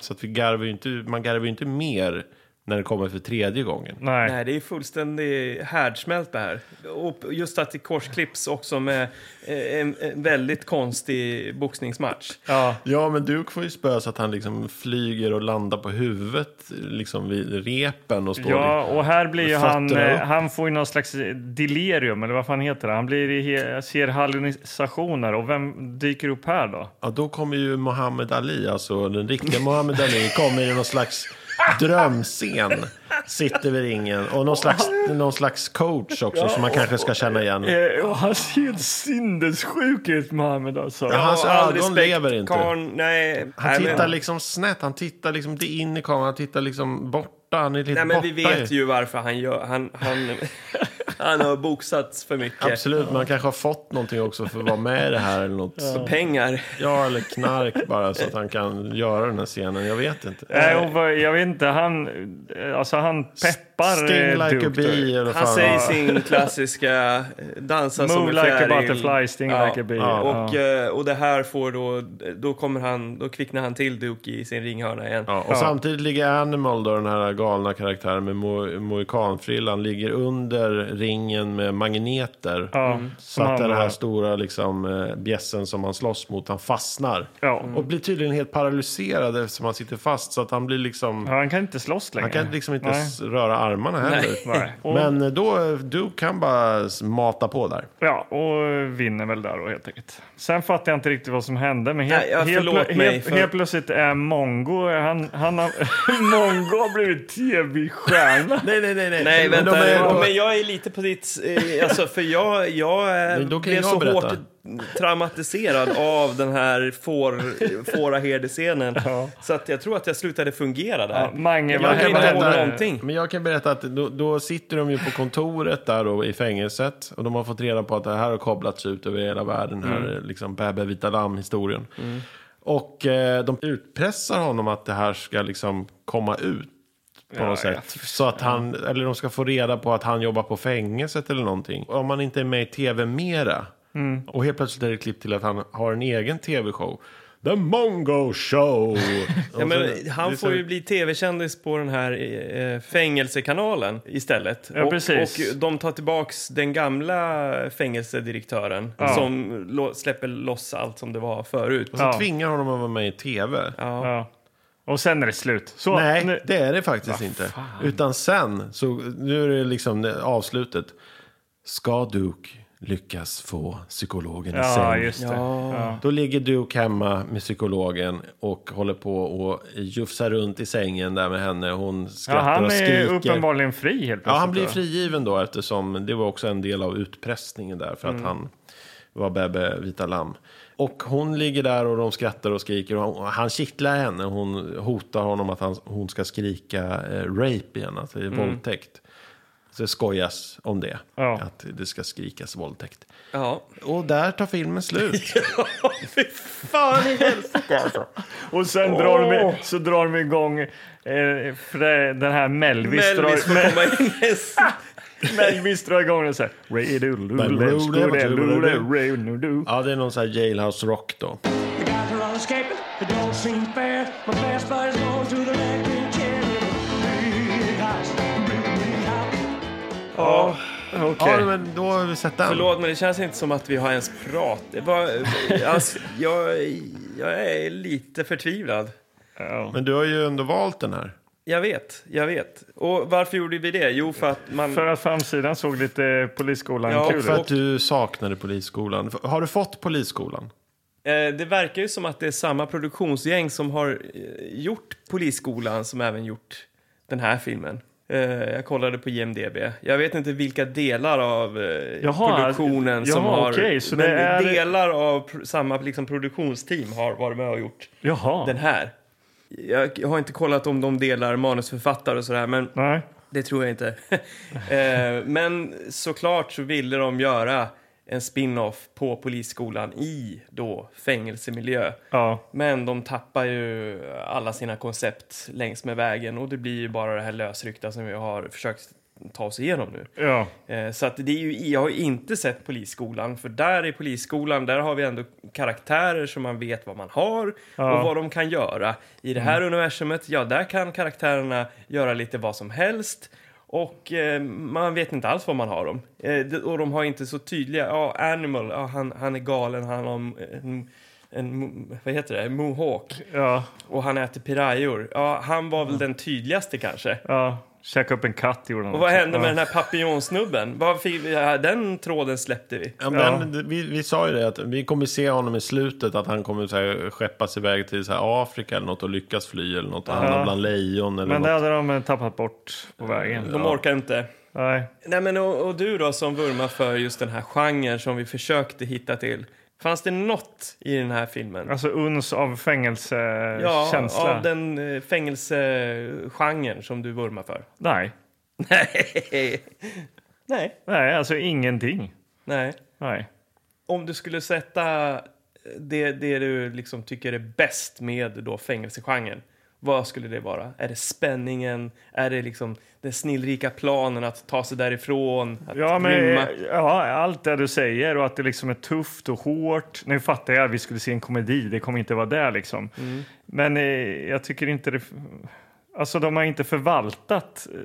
S2: Så att vi garvar ju inte, man garvar ju inte mer när det kommer för tredje gången.
S3: Nej.
S1: Nej, det är fullständigt härdsmält det här. Och just att det korsklipps också med eh, en, en väldigt konstig boxningsmatch.
S3: Ja.
S2: Ja, men Duke får ju spö så att han liksom flyger och landar på huvudet liksom vid repen och står
S3: Ja, och här blir ju han,
S2: Fötterna
S3: eh,
S2: upp.
S3: han får ju någon slags delirium, eller vad fan heter det? Han blir i, he- ser hallucinationer. Och vem dyker upp här då?
S2: Ja, då kommer ju Muhammad Ali, alltså den riktiga Muhammad Ali, kommer i någon slags drömscen. Sitter vid ringen och någon slags, någon slags coach också som man kanske ska känna igen.
S3: Eh, och han ser helt sinnessjuk ut, Mohammed. Alltså.
S2: Ja, hans
S1: Och all
S2: ögon
S1: respekt,
S2: lever inte.
S1: Karn, nej,
S2: Han
S1: nej,
S2: tittar
S1: men,
S2: liksom snett, han tittar liksom inte in i kameran, han tittar liksom borta. Han är lite
S1: nej, men vi
S2: borta *laughs*
S1: vet ju varför han gör... Han, han, Han har boxats för mycket.
S2: Absolut, man kanske har fått någonting också för att vara med i det här eller något. Ja,
S1: Pengar.
S2: eller knark bara så att han kan göra den här scenen. Jag vet
S1: Äh,
S2: inte.
S3: Nej, och vad- jag vet inte, han, eh, alltså han peppar
S2: Sting
S3: eh,
S2: like a
S3: Duke då.
S2: bee eller
S1: Han
S2: fan.
S1: säger sin klassiska eh, dansa som
S3: Move
S1: en
S3: like a
S1: fjäril.
S3: butterfly, sting like a bee. Ja.
S1: Och, eh, och det här får då, då kommer han, då kvicknar han till Duke i sin ringhörna igen.
S2: Ja, och samtidigt ligger Animal, då, den här galna karaktären med mo- mohikanfrillan, ligger under ringen med magneter.
S3: Ja,
S1: Mm.
S2: Så
S3: som
S2: att
S3: han
S2: den
S3: var.
S2: här stora liksom, eh, bjässen som han slåss mot, han fastnar. Mm.
S3: Ja.
S2: Och blir tydligen helt paralyserad eftersom han sitter fast. Så att han blir liksom...
S3: Ja, han kan inte slåss längre.
S2: Han kan liksom inte
S3: Nej.
S2: s- röra armarna heller. *laughs*
S3: Nej. Och,
S2: Men eh, då, eh, du kan bara s- mata på där.
S3: ja, och vinner väl där då helt enkelt. Sen fattar jag inte riktigt vad som hände, men helt,
S1: Nej, ja,
S3: helt,
S1: förlåt
S3: plö-
S1: mig
S3: helt,
S1: för-
S3: helt plötsligt är Mongo, han, han har, *laughs* Mongo har blivit tv-stjärna.
S2: Nej, nej, nej.
S1: Nej,
S2: Men
S1: vänta.
S2: de är-
S1: ja, Men jag är lite på ditt... eh, Alltså, för jag, jag eh,
S2: Men då kan
S1: blev
S2: jag
S1: så
S2: berätta.
S1: hårt traumatiserad av den här får, fåraherde-scenen. Så att jag tror att jag slutade fungera där.
S3: Mange
S1: Jag
S3: verkar
S1: kan
S3: inte
S1: inte ihåg
S3: hålla-
S1: någonting.
S2: Men jag kan berätta att då, då sitter de ju på kontoret där då i fängelset. Och de har fått reda på att det här har kablats ut över hela världen. Den här
S1: Mm.
S2: liksom Bäbe Vita Lamm-historien. Och eh, de utpressar honom att det här ska liksom komma ut. På något sätt. Så att han, eller de ska få reda på att han jobbar på fängelset eller någonting. Om man inte är med i tv mera.
S1: Mm.
S2: Och helt plötsligt är det klipp till att han har en egen tv-show. The Mongo Show!
S1: *laughs* Ja,
S2: Och
S1: men
S2: så- det är
S1: han
S2: så-
S1: får ju bli tv-kändis på den här eh, fängelsekanalen istället.
S3: Ja,
S1: och,
S3: precis.
S1: och de tar tillbaks den gamla fängelsedirektören som lo- släpper loss allt som det var förut.
S2: Så
S3: Ja.
S2: tvingar honom att vara med i tv.
S3: Ja. Och sen är det slut. Så,
S2: Nej,
S3: nu-
S2: det är det faktiskt inte. Utan sen, så nu är det liksom avslutet. Ska Duke lyckas få psykologen i
S3: Ja,
S2: säng?
S3: just det. Ja.
S2: Då ligger Duke hemma med psykologen och håller på och jufsar runt i sängen där med henne. Hon
S3: Ja,
S2: skrattar
S3: han
S2: och
S3: är
S2: skriker.
S3: uppenbarligen fri helt
S2: Ja, han
S3: plötsligt
S2: blir
S3: då.
S2: frigiven då eftersom det var också en del av utpressningen där för att han var Bebe Vita Lamm. Och hon ligger där och de skrattar och skriker och han- han kittlar henne. Hon hotar honom att han, hon ska skrika eh, rape igen, alltså våldtäkt. Så det skojas om det,
S3: Ja.
S2: att det ska skrikas våldtäkt.
S1: Ja.
S2: Och där tar filmen slut.
S1: Fy fan i helsike alltså.
S3: Och sen drar de, så drar de igång eh, frä- den här Melvis.
S1: Melvis
S3: *laughs* drar,
S1: får komma in. Yes.
S3: Melvis drar igång den så här.
S2: ja, det är någon sån här jailhouse rock då.
S9: The guys are all escaping, it don't seem fair. My best buddy's going to the leg green chair. Big house, big, big house.
S2: Ja, men då har vi sett den.
S1: Förlåt, men det känns inte som att vi har ens pratat. Det var, alltså, jag, jag är lite förtvivlad.
S2: Men du har ju ändå valt den här.
S1: Jag vet, jag vet. Och varför gjorde vi det? Jo, för att man...
S3: För att framsidan såg lite Polisskolan
S1: Ja,
S3: kul
S2: För
S3: ut.
S2: att du saknade polisskolan. F- Har du fått polisskolan?
S1: Eh, Det verkar ju som att det är samma produktionsgäng som har eh, gjort Polisskolan som även gjort den här filmen. Eh, Jag kollade på IMDB. Jag vet inte vilka delar av eh,
S3: Jaha,
S1: produktionen
S3: jaha,
S1: som har...
S3: okej, så
S1: men
S3: det är-
S1: delar av pr- samma liksom, produktionsteam har varit med och gjort
S3: Jaha.
S1: den här. Jag jag har inte kollat om de delar manusförfattare och sådär, men
S3: Nej.
S1: det tror jag inte. *laughs* eh, men såklart så ville de göra en spin-off på Polisskolan i då fängelsemiljö.
S3: Ja.
S1: Men de tappar ju alla sina koncept längs med vägen och det blir ju bara det här lösryckta som vi har försökt ta oss igenom nu.
S3: Ja.
S1: Eh, Så att det är ju, jag har ju inte sett Polisskolan, för där i Polisskolan där har vi ändå karaktärer som man vet vad man har och vad de kan göra. I det här universumet, ja där kan karaktärerna göra lite vad som helst och eh, man vet inte alls vad man har dem. Eh, det- och de har inte så tydliga, ja Animal, ja, han, han är galen, han har en, en, en vad heter det, mohawk
S3: Ja.
S1: och han äter pirayor. Ja, han var väl den tydligaste kanske.
S3: Ja. Käka upp en katt gjorde han
S1: Och vad
S3: också.
S1: hände med
S3: ja.
S1: den här papillonsnubben? Vad fick vi- ja, Den tråden släppte vi.
S2: Ja, men det- Vi, vi sa ju det att vi kommer se honom i slutet att han kommer så här, skeppas iväg till så här, Afrika eller något och lyckas fly eller något. och Hamnar bland lejon eller
S3: Men det
S2: något.
S3: hade de eh, tappat bort på vägen.
S1: De orkar inte.
S3: Nej.
S1: Nej, men och, och du då som vurmar för just den här genren som vi försökte hitta till. Fanns det något i den här filmen?
S3: Alltså uns av
S1: Ja,
S3: fängelsekänsla.
S1: av den eh, fängelsegenren som du vurmar för.
S3: *laughs* Nej.
S1: Nej. Nej.
S3: Nej, alltså ingenting.
S1: Nej.
S3: Nej.
S1: Om du skulle sätta eh, det, det du liksom tycker är bäst med då fängelsegenren, vad skulle det vara? Är det spänningen? Är det liksom den snillrika planen att ta sig därifrån? Att
S3: Ja, men, eh,
S1: rymma?
S3: ja, allt det du säger och att det liksom är tufft och hårt. Nu fattar jag att vi skulle se en komedi, det kommer inte vara där liksom.
S1: Mm.
S3: Men eh, jag tycker inte det... Alltså de har inte förvaltat eh,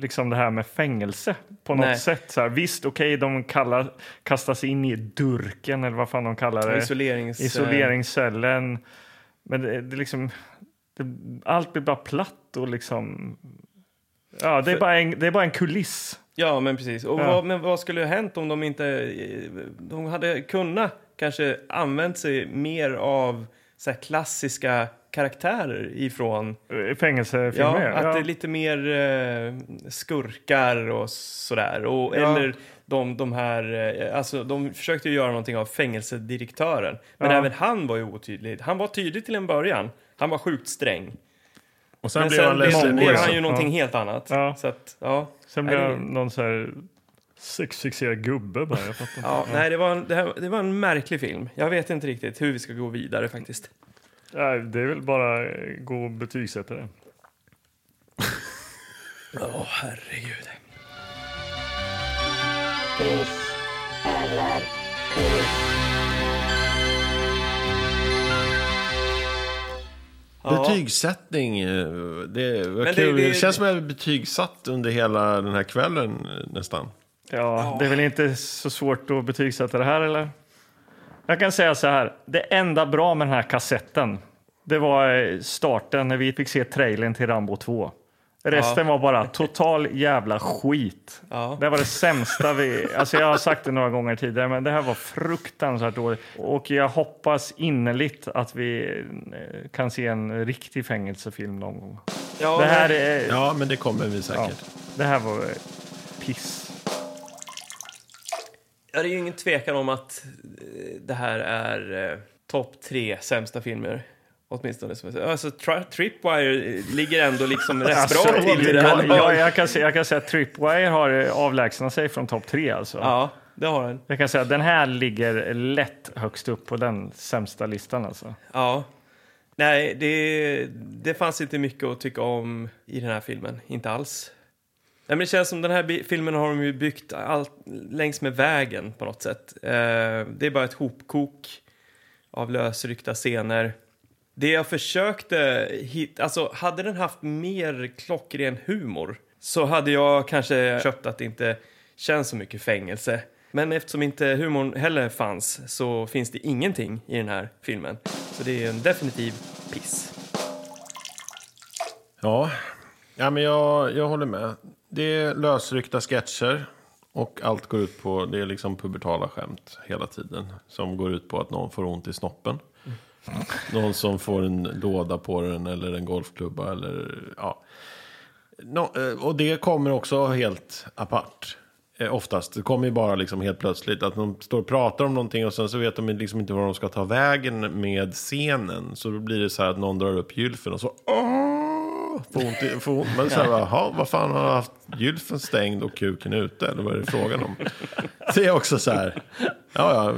S3: liksom det här med fängelse på något
S1: Nej.
S3: sätt. Så här, visst, okej, de kallar, kastas in i durken eller vad fan de kallar det.
S1: Isolerings... eh,
S3: Isoleringscellen. Men det, det är liksom... Det, allt blir bara platt och liksom... Ja, det är, bara en, det är bara en kuliss.
S1: Ja, men precis. Och
S3: Ja.
S1: Vad, men vad skulle ha hänt om de inte... eh, De hade kunnat kanske använt sig mer av så här, klassiska karaktärer ifrån...
S3: Eh, Fängelsefilmer,
S1: Ja, att det är lite mer eh, skurkar och sådär. Och,
S3: Ja.
S1: Eller de, de här... Eh, alltså, de försökte ju göra någonting av fängelsedirektören. Men
S3: Ja.
S1: även han var ju otydlig. Han var tydlig till en början. Han var sjukt sträng.
S2: Och sen
S1: Men
S2: blev han
S1: sen blev,
S2: ledsen.
S1: blev
S2: också.
S1: han ju någonting helt annat.
S3: Ja.
S1: Så att, ja.
S3: Sen
S1: Nej,
S3: blev
S1: det-
S3: jag någon så här sexfixerad gubbe bara. Jag fattar inte.
S1: Ja, nej, det var, en, det, här, det var en märklig film. Jag vet inte riktigt hur vi ska gå vidare faktiskt.
S3: Nej, det är väl bara eh, gå och betygsätta det.
S1: Åh, herregud.
S2: Betygsättning, eh, det var
S1: Men det-
S2: kul. Det,
S1: det-
S2: känns som jag är betygsatt under hela den här kvällen eh, nästan.
S3: Ja, det är väl inte så svårt att betygsätta det här eller? Jag kan säga så här, det enda bra med den här kassetten, det var eh, starten när vi fick se trailern till Rambo 2. Resten var bara total jävla skit.
S1: Ja.
S3: Det var det sämsta vi... Alltså jag har sagt det några gånger tidigare, men det här var fruktansvärt dåligt. Och jag hoppas innerligt att vi eh, kan se en riktig fängelsefilm någon gång.
S1: Ja,
S3: Det här,
S1: men-
S3: är,
S2: Ja, men det kommer vi säkert.
S3: det här var eh, piss.
S1: ja, det är ju ingen tvekan om att eh, det här är eh, topp tre sämsta filmer. Åtminstone. Som, alltså, tri- Tripwire eh, ligger ändå liksom rätt bra till i det här.
S3: Alltså, jag, jag, jag, kan säga, jag kan säga att Tripwire har eh, avlägsnat sig från topp tre. Alltså.
S1: Ja, det har den.
S3: Jag kan säga att den här ligger lätt högst upp på den sämsta listan. Alltså.
S1: Ja. Nej, det, det fanns inte mycket att tycka om i den här filmen. Inte alls. Nej, men det känns som den här bi- filmen har de ju byggt allt längs med vägen på något sätt. Eh, det är bara ett hopkok av lösryckta scener. Det jag försökte hitta, alltså hade den haft mer klockren humor så hade jag kanske köpt att det inte känns så mycket fängelse. Men eftersom inte humorn heller fanns så finns det ingenting i den här filmen. Så det är en definitiv piss.
S2: Ja, ja men jag, jag håller med. Det är lösryckta sketcher. Och allt går ut på, det är liksom pubertala skämt hela tiden. Som går ut på att någon får ont i snoppen. Någon som får en låda på den eller en golfklubba eller ja. Nå- eh, och det kommer också helt apart. eh, Oftast. Det kommer ju bara liksom helt plötsligt. Att de står och pratar om någonting och sen så vet de liksom inte var de ska ta vägen med scenen. Så då blir det så här att någon drar upp gylfen och så... Åh! Får ont i, får ont. Men så här, jaha, vad fan har han haft gylfen stängd och kuken ute? Eller vad är det frågan om? Det är också så här... Ja, ja.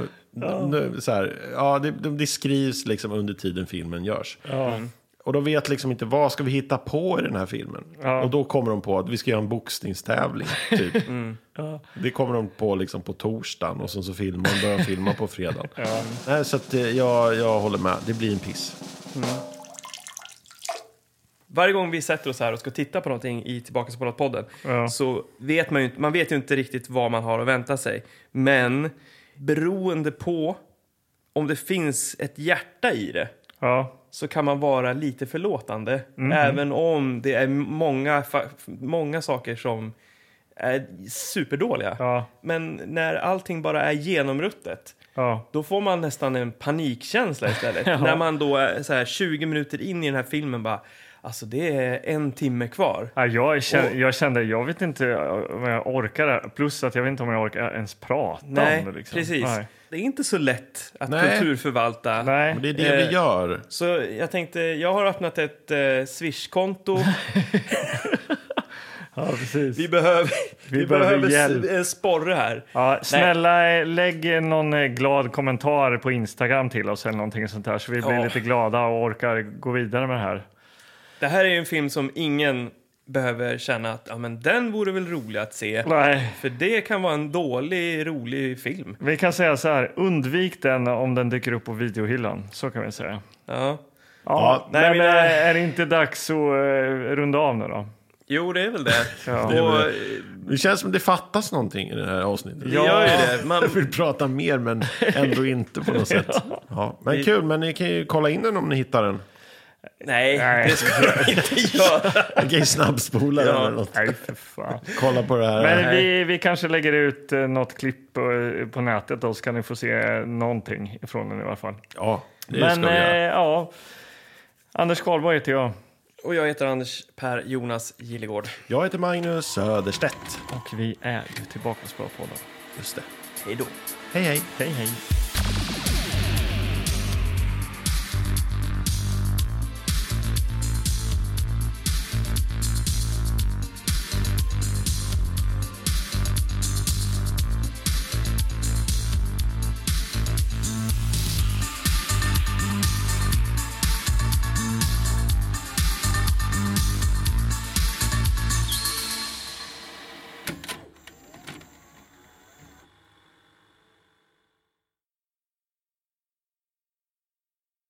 S2: Nu, så här, ja det, det skrivs liksom under tiden filmen görs. Och de vet liksom inte vad ska vi hitta på i den här filmen. Och då kommer de på att vi ska göra en boxningstävling.
S3: *laughs*
S2: Typ.
S3: Mm.
S2: Det kommer de på liksom på torsdagen och sen så filmar de, börjar filma på
S3: *laughs*
S2: fredagen. Nej, så att eh, jag, jag håller med, det blir en piss.
S1: Varje gång vi sätter oss här och ska titta på någonting i Tillbaka till podden
S3: Ja.
S1: så vet man ju inte, man vet ju inte riktigt vad man har att vänta sig. Men beroende på om det finns ett hjärta i det
S3: Ja.
S1: så kan man vara lite förlåtande.
S3: Mhm.
S1: Även om det är många, fa- många saker som är superdåliga.
S3: Ja.
S1: Men när allting bara är genomruttet
S3: Ja.
S1: då får man nästan en panikkänsla
S3: *laughs*
S1: istället. När man då är så här 20 minuter in i den här filmen bara, alltså det är en timme kvar.
S3: Ja, jag, kände, jag kände, jag vet inte eh, om jag orkar det här. Plus att jag vet inte om jag orkar ens prata
S1: Nej,
S3: om det. Liksom.
S1: precis.
S3: Nej.
S1: Det är inte så lätt att
S2: Nej.
S1: kulturförvalta.
S3: Nej.
S2: Men det är det
S1: Eh,
S2: vi gör.
S1: Så jag tänkte, jag har öppnat
S3: *laughs*
S1: ett eh, Swish-konto.
S3: Ja, precis.
S1: Vi behöver,
S3: Vi,
S1: Vi behöver s- en sporre här.
S3: Ja, snälla eh, lägg någon eh, glad kommentar på Instagram till oss eller någonting sånt där så vi blir
S1: Ja.
S3: lite glada och orkar gå vidare med det här.
S1: Det här är ju en film som ingen behöver känna att ja, men den vore väl rolig att se.
S3: Nej.
S1: För det kan vara en dålig, rolig film.
S3: Vi kan säga så här, undvik den om den dyker upp på videohyllan. Så kan vi säga.
S1: Ja.
S3: Ja,
S1: nej,
S3: men
S1: men,
S3: eh,
S1: eh,
S3: är det inte dags att eh, runda av nu då?
S1: Jo, det är väl det.
S3: Ja.
S1: Och, eh,
S2: Det känns som det fattas någonting i det här avsnittet.
S1: det gör ju det.
S2: *laughs* Jag
S1: Man,
S2: vill prata mer men ändå inte på något
S3: *laughs*
S2: sätt. Ja, men kul, men ni kan ju kolla in den om ni hittar den.
S1: nej,
S3: Nej.
S1: det ska de inte göra.
S2: Ni kan ju snabbspola den eller något.
S3: Nej, för fan.
S2: Kolla på det här.
S3: Men vi, vi kanske lägger ut eh, något klipp på, eh, på nätet då så kan ni få se någonting ifrån den i alla fall.
S2: Ja, det
S3: Men
S2: ska vi
S3: eh,
S2: göra.
S3: ja, Anders Karlberg heter jag.
S1: Och jag heter Anders Per Jonas Gillegård.
S2: Jag heter Magnus Söderstedt.
S3: Och vi är ju tillbaka på Spöpodden.
S2: Just det.
S1: Hej då.
S2: Hej, hej.
S3: Hej hej!